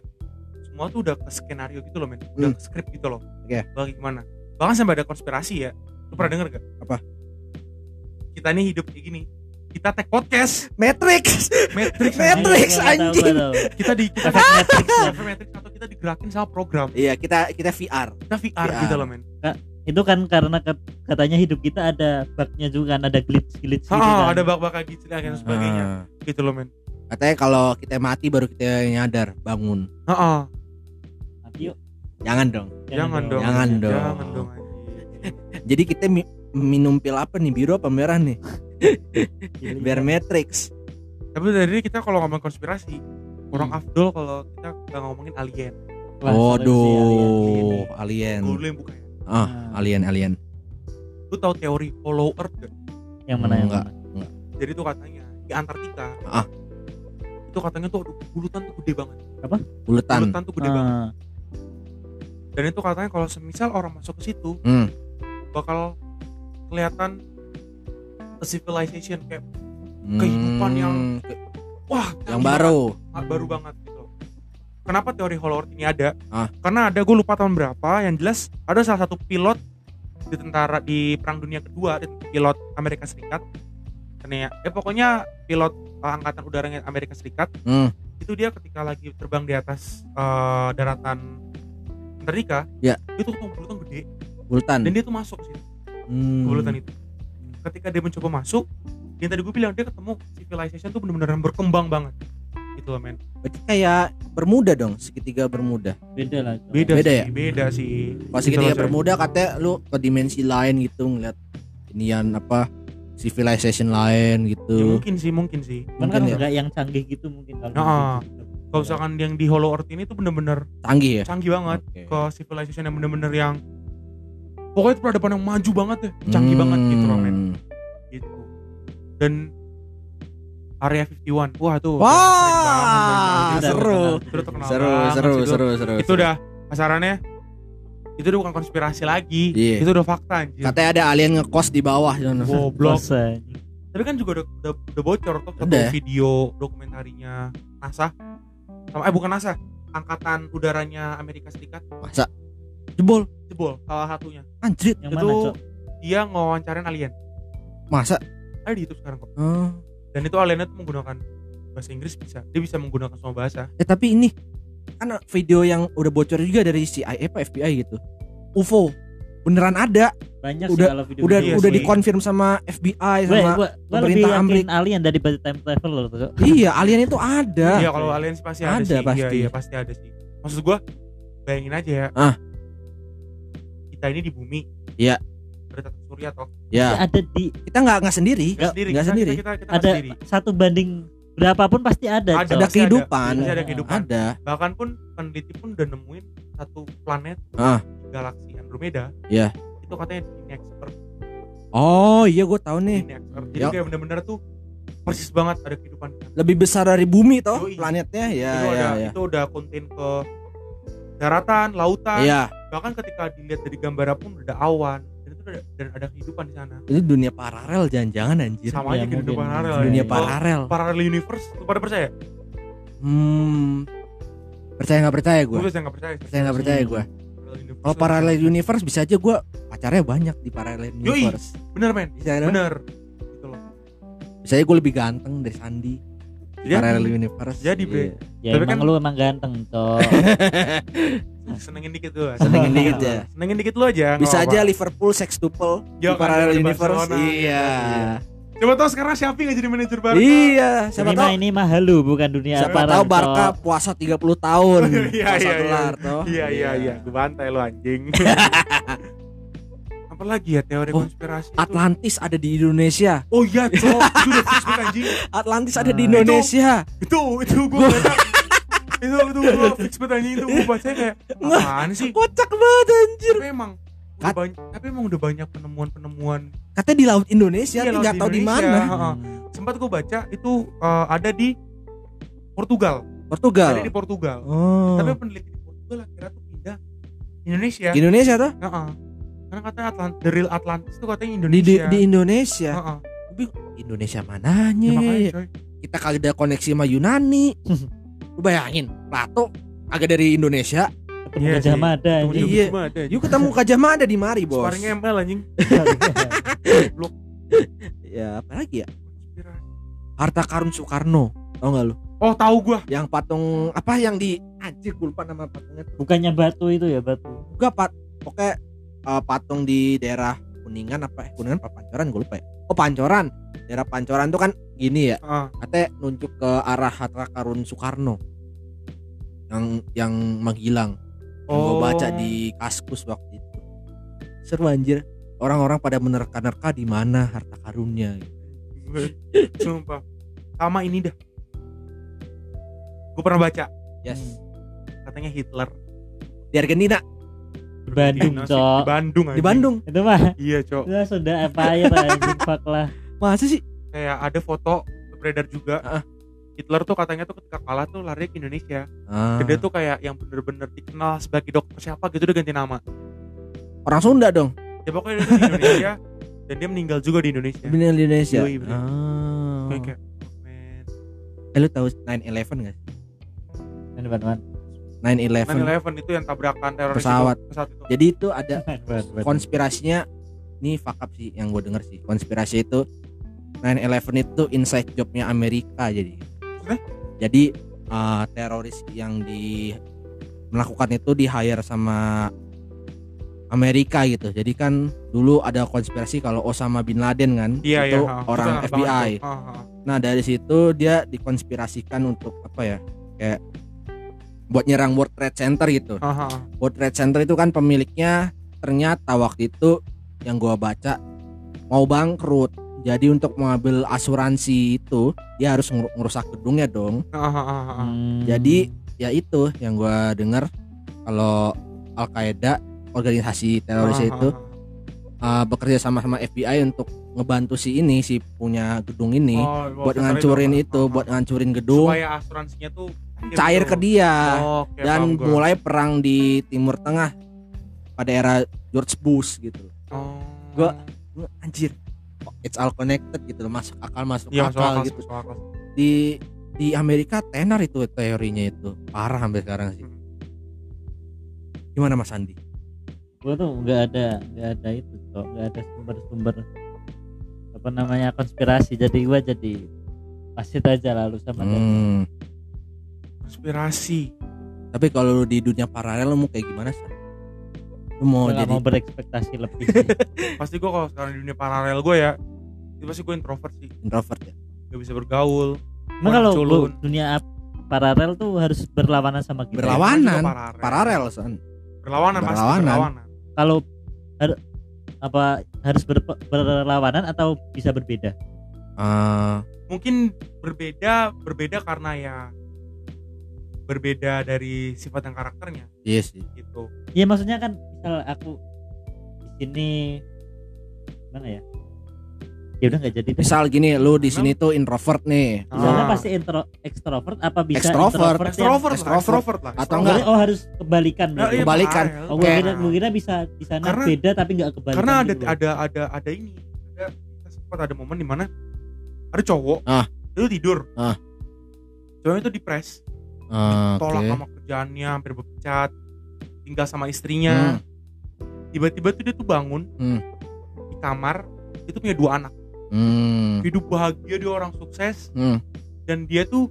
S1: semua tuh udah ke skenario gitu loh men udah
S4: Hmm.
S1: ke script gitu loh
S4: Oke.
S1: bagaimana bahkan sampai ada konspirasi ya lu pernah denger gak
S4: Apa?
S1: kita nih hidup kayak gini kita tag podcast
S4: Matrix Matrix,
S1: Matrix
S2: Iya, gua tahu, gua
S4: anjing.
S2: tahu.
S1: kita di kita
S2: Efek Matrix ya.
S1: Efek Matrix atau kita digerakin sama program
S4: iya kita kita VR
S1: kita VR,
S4: VR.
S1: gitu loh men
S2: itu kan karena kat- katanya hidup kita ada bugnya juga kan ada glitch glitch
S1: ah
S2: gitu kan.
S1: ada bak bak gitu dan lain sebagainya
S3: Ah.
S1: gitu loh men
S3: Katanya kalau kita mati baru kita nyadar bangun.
S1: ah ah.
S2: Mati Nah, yuk.
S3: Jangan dong.
S1: jangan dong
S3: Jangan dong.
S1: jangan dong anjing.
S3: Jadi kita mi- minum pil apa nih biru apa merah nih? Biar Matrix.
S1: tapi dari ini kita kalau ngomong konspirasi kurang afdol kalau kita nggak ngomongin alien
S2: Wah, seru sih, alien.
S3: Waduh,
S1: gue dulu
S3: alien.
S1: yang buka ya
S3: Ah, alien alien.
S1: lu tahu teori hollow earth gak?
S2: yang mana yang
S3: Enggak.
S2: mana?
S1: jadi tuh katanya di Antartika
S3: Ah.
S1: itu katanya tuh aduh, bulutan tuh gede banget
S3: Buletan.
S1: bulutan tuh gede
S2: Ah,
S1: banget dan itu katanya kalau semisal orang masuk ke situ
S3: Hmm.
S1: bakal kelihatan a civilization kayak Kehidupan yang-
S3: Hmm,
S1: wah
S3: yang
S1: gila,
S3: baru.
S1: ah, baru banget gitu kenapa teori hollow earth ini ada
S3: Ah.
S1: karena ada gue lupa tahun berapa yang jelas ada salah satu pilot di tentara di perang dunia kedua ada pilot Amerika Serikat Karena ya, ya pokoknya pilot uh, angkatan udaranya Amerika Serikat
S3: Hmm.
S1: itu dia ketika lagi terbang di atas uh, daratan Antartika
S3: Ya.
S1: itu tuh bulutan gede dan
S3: Buletan.
S1: dia tuh masuk sih
S3: Hmm.
S1: kebulutan itu ketika dia mencoba masuk yang tadi gue bilang dia ketemu civilization tuh bener-bener berkembang banget gitu loh men
S3: Berarti kayak bermuda dong, segitiga bermuda.
S2: beda lah Kan coba.
S1: beda,
S3: Beda
S1: sih,
S3: ya?
S1: beda sih
S3: Pas
S1: Gitu loh,
S3: segitiga
S1: coy.
S3: bermuda katanya lu ke dimensi lain gitu ngeliat inian apa civilization lain
S1: Ya,
S3: gitu.
S1: mungkin sih mungkin sih
S2: Cuman kan
S3: Mungkin ya.
S2: enggak yang canggih gitu mungkin kalau
S1: Ah.
S2: gitu.
S1: kalau misalkan yang di Hollow Earth ini tuh bener-bener
S3: Canggih ya.
S1: canggih banget
S3: Oke.
S1: ke civilization yang bener-bener yang pokoknya itu peradaban yang maju banget ya canggih banget gitu loh men
S3: Hmm.
S1: gitu dan area 51 wah tuh keren
S3: Wah,
S1: banget,
S2: Udah
S1: men.
S3: seru.
S2: terkenal.
S1: Itu terkenal
S3: Seru,
S1: banget
S3: seru,
S1: itu.
S3: seru, seru.
S1: itu udah kasarannya itu udah bukan konspirasi lagi
S3: Iya.
S1: itu udah fakta anjir
S3: Katanya ada alien ngekos di bawah sana.
S1: goblok
S2: Terus, eh,
S1: tapi kan juga udah udah, udah bocor tuh foto
S3: Udah.
S1: video dokumentarinya NASA sama eh bukan NASA angkatan udaranya Amerika Serikat
S3: Masa jebol
S1: jebol salah satunya
S3: anjrit
S2: yang
S1: itu
S2: mana cok
S1: dia ngewawancarin alien
S3: masa
S1: ada di YouTube sekarang kok
S3: Eh,
S1: dan itu aliennya tuh menggunakan bahasa Inggris bisa dia bisa menggunakan semua bahasa
S3: eh tapi ini kan video yang udah bocor juga dari CIA apa FBI gitu UFO beneran ada
S2: banyak
S3: Udah-
S2: sih kalau video
S3: udah
S1: Iya
S3: udah
S1: sih.
S3: dikonfirm sama FBI
S2: gue
S3: sama
S2: gue gue lebih
S3: pemerintah
S2: yakin
S3: Amrik.
S2: alien daripada time traveler tuh
S3: iya alien itu ada
S1: Iya kalau alien sih pasti ada,
S3: Ada
S1: sih. Iya,
S3: pasti.
S1: Iya, pasti ada sih. Maksud gua bayangin aja ya.
S5: Ah.
S1: Kita ini di bumi.
S5: Iya.
S1: Bertatap surya toh.
S3: Nah.
S5: ya
S2: ada di
S3: kita nggak nggak sendiri
S1: Kita sendiri.
S5: nggak
S1: kita-
S5: sendiri.
S1: Kita, kita, kita nggak
S2: ada
S1: Kan sendiri.
S2: satu banding berapapun pasti ada
S1: Ada.
S3: ada
S1: Pasti
S3: kehidupan
S1: Pasti ada
S2: Ada.
S1: kehidupan.
S5: ada
S1: Bahkan pun peneliti pun udah nemuin satu planet
S5: Ah.
S1: di galaksi Andromeda.
S5: Iya.
S1: Itu katanya di next Earth.
S3: oh iya gue tahu
S5: Eh.
S1: Di
S3: nih
S1: next Earth. Jadi
S5: Yo.
S1: kayak bener-bener tuh persis banget ada kehidupan.
S3: lebih besar dari bumi toh
S1: Yoi.
S3: planetnya
S5: Iya,
S3: ya
S1: itu
S3: ya
S1: ada
S3: ya
S1: itu udah konten ke daratan, lautan.
S5: iya
S1: Bahkan ketika dilihat dari gambarnya pun udah ada awan. Dan itu ada, dan ada kehidupan di sana.
S5: itu dunia paralel jangan-jangan
S3: Iya,
S5: anjir
S1: Sama
S2: Ya,
S1: aja kehidupan
S2: mungkin.
S1: paralel.
S2: Dunia
S1: Itu
S2: paralel.
S1: paralel universe. Lu pada percaya?
S3: hmm
S5: percaya nggak percaya
S1: Gue biasanya nggak percaya.
S3: percaya nggak percaya gue
S1: Paralel universe.
S3: kalau paralel universe bisa aja gue pacarnya banyak di paralel
S1: Yoi.
S3: universe
S1: Bener men.
S3: bisa kan?
S1: Bener. Gitu loh.
S3: bisa aja gue lebih ganteng dari Sandi di
S1: Jadi- ya,
S3: paralel universe
S1: Jadi bre,
S5: Iya.
S2: ya
S1: Tapi
S2: emang
S1: kan-
S2: lu emang ganteng toh
S1: senengin dikit lu.
S5: Senengin dikit ya.
S1: Senengin dikit lu aja. nggak
S3: bisa
S1: apa-apa.
S3: aja Liverpool sextuple
S1: Ya,
S3: di paralel
S1: kan,
S3: universe
S1: Barcelona.
S3: iya
S1: Coba tau sekarang Syafi nggak jadi manajer Barca.
S3: iya siapa
S2: ini
S3: tahu
S2: mah ini mah halu bukan dunia
S3: siapa
S2: aparat,
S3: tahu
S2: toh.
S3: Barca puasa 30 tahun
S1: Iya,
S3: puasa
S1: iya, iya.
S3: gelar toh
S1: Iya iya iya, gue bantai lo anjing. Apalagi ya teori
S3: Oh,
S1: konspirasi itu?
S3: Atlantis ada di Indonesia
S1: Oh iya, cok, itu udah fix banget, anjing.
S3: Atlantis ada di
S2: Ah.
S3: Indonesia
S1: Itu itu gue baca. itu itu gue fix banget anjing itu gue baca kayak
S3: Nggak.
S1: apaan sih?
S3: kocak banget anjir
S1: Tapi emang udah
S3: Kat-
S1: banyak, tapi emang udah banyak penemuan-penemuan.
S3: katanya di laut Indonesia
S1: Iya,
S3: tapi
S1: laut
S3: nggak tahu di
S1: Indonesia.
S2: Hmm.
S3: mana
S1: Heeh. Sempat gue baca itu eh, ada di Portugal. Ada
S3: Portugal
S1: di Portugal.
S3: oh
S1: Tapi peneliti di Portugal akhirnya tuh pindah Indonesia.
S3: di Indonesia toh
S1: Heeh. Karena katanya Atlant the real Atlantis itu katanya
S3: di di,
S1: Indonesia.
S3: di Iya. Indonesia
S1: Heeh.
S3: Indonesia
S1: Ya, makanya,
S3: mananya
S1: coy.
S3: kita kagak ada koneksi sama Yunani lu bayangin Plato agak dari Indonesia
S2: ketemu
S1: Iya
S2: yeah,
S1: sih.
S2: Mada
S1: Tunggu
S2: anjing.
S1: dulu,
S3: Iya.
S1: cuma ada.
S3: yuk ketemu Gajah Mada di mari bos
S1: Sparring ML anjing.
S3: ya apa lagi ya harta karun Soekarno tau gak lu
S1: Oh, tahu gua.
S3: yang patung apa yang di anjir gue lupa nama patungnya
S2: bukannya batu itu ya batu
S3: juga pat pokoknya eh, patung di daerah kuningan apa eh, kuningan apa pancoran gue lupa ya oh pancoran daerah pancoran tuh kan gini ya
S1: Heeh.
S3: katanya nunjuk ke arah harta karun Soekarno yang yang menghilang yang gue
S1: Oh.
S3: baca di kaskus waktu itu seru anjir orang-orang pada menerka-nerka di mana harta karunnya gitu.
S1: Sumpah. Sama ini dah. Gua pernah baca
S3: yes
S1: katanya Hitler
S3: di Argentina
S1: di
S2: Bandung,
S1: Cina sih.
S2: Cok.
S1: Di Bandung
S3: di
S1: anjing.
S3: Bandung
S2: itu mah
S1: Iya, Cok.
S2: itu sudah empire anjing fuck lah
S3: masa sih
S1: Kayak ada foto beredar juga.
S3: Heeh.
S1: Hitler tuh katanya tuh ketika kalah tuh lari ke Indonesia.
S3: Ah.
S1: Dan dia tuh kayak yang bener-bener dikenal sebagai dokter siapa gitu dia ganti nama.
S3: orang Sunda dong
S1: Ya pokoknya dia tuh di Indonesia dan dia meninggal juga di Indonesia.
S3: Bini di Indonesia.
S1: Yoi, bro.
S3: Ah.
S1: Kayak kayak oh, man.
S3: Eh, lu tahu 911 enggak?
S2: ini teman
S3: 911.
S1: 9/11 itu yang tabrakan teroris itu,
S3: Pesawat.
S1: pesawat itu.
S3: Jadi itu ada
S2: teman
S3: konspirasinya nih fakap sih yang gue denger sih. Konspirasi itu 911 itu inside jobnya Amerika jadi.
S1: Maksudnya?
S3: Jadi eh, teroris yang di melakukan itu di hire sama Amerika gitu. Jadi kan dulu ada konspirasi kalau Osama bin Laden kan
S1: Iya, iya,
S3: itu
S1: ha.
S3: orang
S1: Itu enak
S3: FBI.
S1: banget tuh. Ha, ha.
S3: Nah dari situ dia dikonspirasikan untuk apa ya kayak buat nyerang World Trade Center gitu.
S1: Ha, ha.
S3: World Trade Center itu kan pemiliknya ternyata waktu itu yang gua baca mau bangkrut. Jadi untuk mengambil asuransi itu dia harus ngeru- ngerusak gedungnya dong.
S1: Ha, ha, ha, ha.
S2: Hmm.
S3: Jadi- Ya itu yang gua dengar kalau Al Qaeda organisasi teroris
S1: Ha, ha,
S3: itu
S1: ha.
S3: uh, bekerja sama sama FBI untuk ngebantu si ini si punya gedung ini
S1: Oh, waktu
S3: buat ngancurin
S1: ha, ha,
S3: itu,
S1: ha.
S3: buat ngancurin
S1: Oh.
S3: gedung.
S1: supaya asuransinya tuh gitu.
S3: cair ke dia
S1: Iya, Oh, oke,
S3: dan
S1: paham gua.
S3: mulai perang di Timur Tengah pada era George Bush gitu.
S1: Oh.
S3: gua- Gua, Anjir, kok it's all connected gitu, masuk akal masuk
S1: Iya, masuk
S3: akal
S1: akal,
S3: gitu.
S1: masuk akal.
S3: Di di Amerika tenar itu teorinya itu parah sampai sekarang sih.
S1: Hmm.
S3: Gimana Mas Andi?
S2: gua tuh nggak ada nggak ada itu kok nggak ada sumber-sumber apa namanya konspirasi jadi gua jadi pasti aja lalu sama dia.
S3: Hmm.
S1: konspirasi
S3: Tapi kalau lu di dunia paralel lu mau kayak gimana sih? Lu
S2: Gua
S3: mau
S2: nggak
S3: jadi
S2: mau berekspektasi lebih sih.
S1: pasti gue kalau sekarang di dunia paralel gue ya itu pasti gue introvert sih
S3: introvert ya?
S1: gak bisa bergaul
S2: Emang kalau
S1: Culun.
S2: bu- dunia ap- paralel tuh harus berlawanan sama kita. ya?
S3: Berlawan-
S2: Berlawanan.
S1: Itu
S3: Berlawanan,
S1: Iya, paralel.
S3: Paralel son.
S1: berlawanan pasti
S3: Berlawanan.
S1: berlawanan
S2: Kalau har- apa harus berpe- berlawanan atau bisa berbeda?
S3: Eh,
S1: mungkin berbeda berbeda karena ya berbeda dari sifat dan karakternya
S3: iya sih.
S1: gitu
S2: Iya maksudnya kan misal aku di sini mana ya? Ya udah nggak jadi. deh.
S3: Misal gini, lu di sini tuh introvert nih.
S1: Ah.
S2: Misalnya pasti intro ekstrovert apa bisa
S3: Extrovert.
S2: introvert yang-
S1: extrovert lah
S3: extrovert.
S1: extrovert lah
S3: Atau
S1: extrovert.
S3: enggak?
S2: Oh harus kebalikan
S1: Nah, iya,
S2: berarti.
S3: Kebalikan.
S1: paralel.
S2: Oh, gue
S1: Kayak-
S2: kira, gue kira bisa di sana
S1: Karena-
S2: beda tapi nggak kebalikan.
S1: karena ada
S2: gitu loh.
S1: ada ada ada ini ada kita sempat ada momen di mana ada cowok
S3: Ah.
S1: itu tidur
S3: Ah.
S1: cowoknya itu depres
S3: Eh,
S1: tolak
S3: oke.
S1: sama kerjaannya hampir bepecat tinggal sama istrinya tiba-tiba tuh dia tuh bangun
S3: Hmm.
S1: di kamar itu punya dua anak
S3: Hmm.
S1: hidup bahagia dia orang sukses
S3: Hmm.
S1: dan dia tuh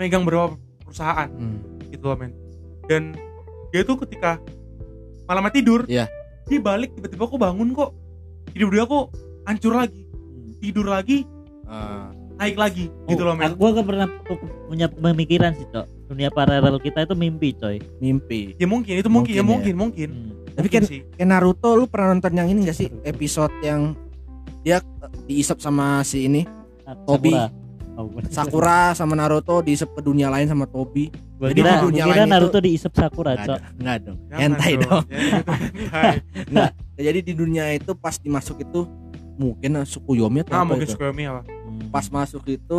S1: megang beberapa perusahaan
S3: Hmm.
S1: gitu loh men dan dia tuh ketika malamnya tidur
S3: Iya.
S1: dia balik tiba-tiba kok bangun kok hidup dia kok hancur lagi
S2: Hmm.
S1: tidur lagi
S3: Eh,
S1: naik lagi gitu
S2: Oh,
S1: loh men
S2: Gue gak pernah pu- punya pemikiran sih cok. Dunia paralel kita itu mimpi coy.
S3: mimpi.
S1: ya mungkin itu mungkin, ya
S3: Mungkin
S1: mungkin mungkin
S2: Hmm.
S3: Tapi
S1: Mungkin
S3: kan
S1: sih
S3: kayak Naruto lu pernah nonton yang ini gak sih episode yang dia eh, diisep sama si ini Tobi.
S2: Sakura. Oh, gua-
S3: Sakura sama Naruto diisep ke dunia lain sama Tobi
S2: Gua
S3: Jadi
S2: kira,
S3: di
S2: gua
S3: dunia
S2: kira
S3: lain itu-
S2: Naruto diisep Sakura
S3: Nggak
S2: cok.
S3: ada- nggak dong
S1: Jangan
S3: hentai dong
S1: Jangan dong, hentai.
S3: Ya, jadi di dunia itu pas dimasuk itu mungkin suku Yomi atau
S1: nah
S3: apa
S1: mungkin
S3: itu
S1: Sukuyomi apa
S2: Hmm.
S3: pas masuk itu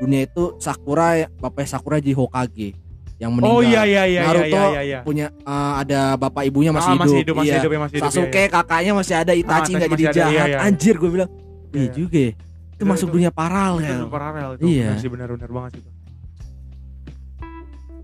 S3: dunia itu Sakura bapaknya Sakura jadi Hokage yang meninggal
S1: oh iya iya iya iya
S3: Naruto
S1: iya iya, iya
S3: punya eh, ada bapak ibunya
S1: Ah,
S3: masih, hidup.
S1: masih hidup masih
S3: iya.
S1: hidup ya, masih hidup
S3: Sasuke
S1: iya, iya.
S3: kakaknya masih ada Itachi
S1: Ah,
S3: nggak jadi
S1: masih ada,
S3: jahat
S1: iya, iya.
S3: anjir gue bilang iya
S1: Iya.
S3: juga ya. itu,
S1: Itu-
S3: masuk
S1: itu-
S3: dunia
S1: itu
S3: paralel
S1: ya. super paralel itu
S3: Iya.
S1: benar sih benar-benar banget itu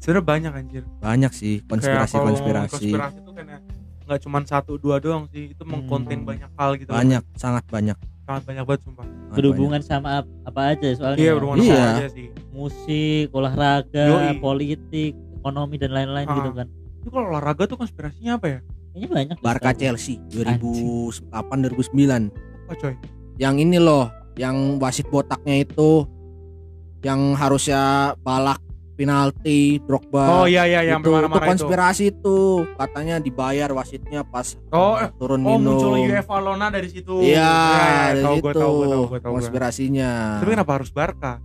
S1: sebenarnya banyak anjir
S3: banyak sih
S1: Kayak
S3: konspirasi
S1: kalau ngomongin
S3: konspirasi
S1: konspirasi itu kayaknya nggak cuma satu dua doang sih itu mengkonten
S2: Hmm.
S1: banyak hal gitu
S3: banyak sangat banyak
S1: sangat banyak banget sumpah
S3: sangat
S2: Berhubungan sama ap- apa aja ya soalnya.
S1: iya berhubungan
S3: Iya.
S1: sama aja sih
S2: Musik, olahraga,
S1: Yoi.
S2: politik, ekonomi dan lain-lain
S1: Ah.
S2: gitu kan.
S1: itu kalau olahraga tuh konspirasinya apa ya
S2: Ini banyak.
S3: banyak. Barca
S2: cok.
S3: Chelsea 2008 2009
S1: apa coy
S3: yang ini loh yang wasit botaknya itu yang harusnya balak penalti Drogba
S1: oh iya iya yang
S3: itu, itu
S1: marah-marah itu
S3: konspirasi itu katanya dibayar wasitnya pas
S1: oh eh,
S3: turun
S1: oh
S3: minum
S1: muncul UEFA Lona dari situ Ya,
S3: Iya, dari
S1: tahu
S3: situ
S1: gue tahu gue tahu gue tahu gua.
S3: konspirasinya.
S1: tapi kenapa harus Barca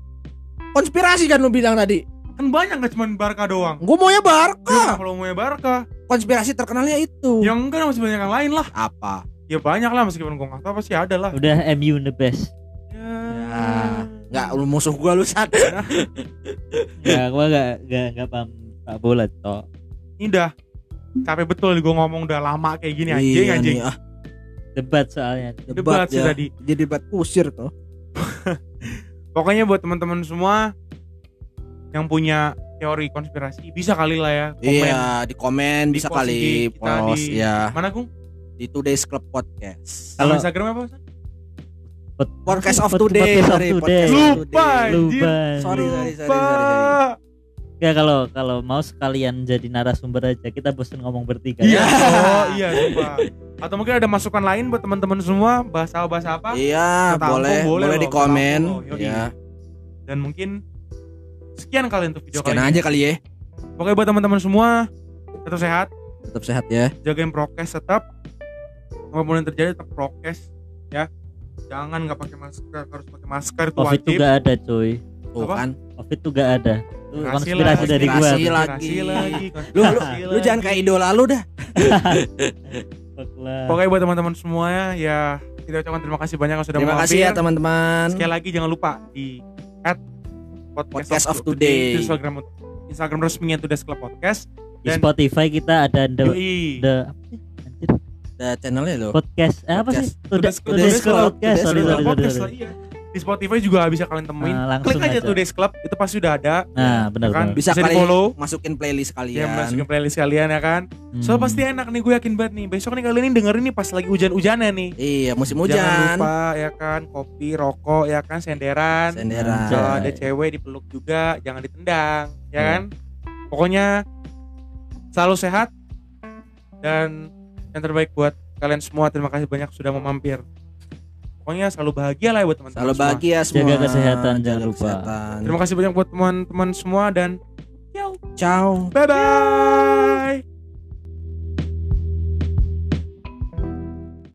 S3: Konspirasi kan lu bilang tadi.
S1: kan banyak nggak cuma Barca doang
S3: Gue maunya Barca.
S1: kalau mau Barca
S3: Konspirasi terkenalnya itu.
S1: yang enggak masih banyak yang lain lah
S3: Apa?
S1: ya banyak lah meskipun gue nggak tahu pasti ada lah
S2: Udah MU the best.
S1: ya,
S3: Enggak, lu musuh gua lu sat.
S2: Ya gua gak gak gak paham sepak bola cok.
S1: ini dah capek betul gue ngomong udah lama kayak gini anjing
S3: Iya
S1: anjing
S3: nih, ah,
S2: Debat soalnya.
S3: debat,
S1: debat sih
S3: ya.
S1: tadi
S3: Jadi debat kusir tuh.
S1: pokoknya buat teman-teman semua yang punya teori konspirasi bisa kali lah ya komen
S3: Iya, di komen
S1: Di
S3: bisa
S1: post
S3: kali
S1: di- kita
S3: post
S1: di-
S3: ya
S1: mana Gung?
S3: di Today's Club Podcast.
S1: Kalau
S2: Kalau-
S1: Instagram apa? San?
S2: Pod-
S3: Podcast of
S2: pod- podcast
S3: today,
S2: of
S3: sorry,
S2: today.
S3: podcast of
S1: Lupa eh. anjir.
S2: Lupa.
S3: Sorry, sorry, sorry,
S1: Lupa.
S3: sorry, sorry.
S2: Ya kalau kalau mau sekalian jadi narasumber aja kita bosen ngomong bertiga.
S1: Iya,
S2: ya.
S1: oh, iya lupa. Atau mungkin ada masukan lain buat teman-teman semua bahasa-bahasa apa? Kita
S3: Iya,
S1: tampung,
S3: boleh
S1: boleh
S3: boleh,
S1: loh,
S3: di
S1: kita
S3: komen.
S1: tampung, oh, yoi.
S3: ya.
S1: Dan mungkin sekian kali untuk video
S3: Sekian
S1: kali
S3: aja
S1: ini.
S3: kali ya.
S1: Pokoknya buat teman-teman semua tetap sehat,
S3: Tetap sehat ya.
S1: jagain prokes tetap. Apapun yang terjadi tetap prokes ya. Jangan nggak pakai masker, harus pakai masker itu
S2: Covid tuh
S1: wajib.
S2: gak ada cuy.
S3: Tuh
S1: Apa?
S3: kan.
S2: Covid tuh gak ada. Itu
S1: Konspirasi
S2: konspirasi
S1: lah,
S2: dari gua.
S3: konspirasi
S2: tuh.
S3: lah.
S1: Konspirasi
S3: lagi.
S1: konspirasi
S3: Lu, lu, Ah, lu
S1: lagi.
S3: jangan kayak idola lu dah.
S2: Fuck lah.
S1: Pokoknya buat teman-teman semuanya ya kita ucapkan terima kasih banyak yang sudah
S3: Terima kasih
S1: mampir.
S3: ya teman-teman.
S1: Sekali lagi jangan lupa di at
S3: Podcast of
S1: di
S3: Today.
S1: Instagram Instagram resminya Tudas Club Podcast.
S2: Di
S1: dan-
S2: Spotify kita ada the
S1: Yoi.
S2: the apa sih? Anjir,
S3: Ada channelnya loh.
S2: podcast eh, apa sih?
S3: Podcast.
S2: Udah
S1: Tudas-
S2: udah
S1: Tudas
S2: scroll
S3: Club.
S2: podcast.
S3: Tudas
S2: Sorry
S1: Tudas
S2: sorry
S1: Club
S2: sorry.
S1: Podcast lah,
S2: sorry.
S1: iya. Di Spotify juga bisa kalian temuin.
S2: Nah, langsung
S1: Klik aja,
S2: aja.
S1: Tudas Club itu pasti udah ada.
S2: Nah, benar
S1: kan?
S2: benar.
S1: Bisa,
S3: Bisa
S1: di
S3: kali-
S1: follow.
S3: Masukin playlist
S1: Ya, masukin
S3: kalian.
S1: playlist kalian ya kan. So
S2: Hmm.
S1: pasti enak nih gue yakin banget nih. Besok nih kalian ini dengerin nih pas lagi hujan-hujannya nih.
S3: Iya, musim
S1: Jangan
S3: hujan.
S1: lupa ya kan kopi, rokok ya kan senderan.
S3: Senderan.
S4: Iya.
S1: Kalau
S2: Anjay.
S1: ada cewek dipeluk juga, jangan ditendang, ya kan? Pokoknya selalu sehat, dan yang terbaik buat kalian semua terima kasih banyak sudah mau mampir pokoknya selalu bahagia lah ya buat teman-teman
S4: Selalu
S1: semua.
S4: bahagia semua.
S2: Jaga kesehatan, jangan lupa.
S4: kesehatan.
S1: terima kasih banyak buat teman-teman semua dan
S4: Ciao.
S1: bye bye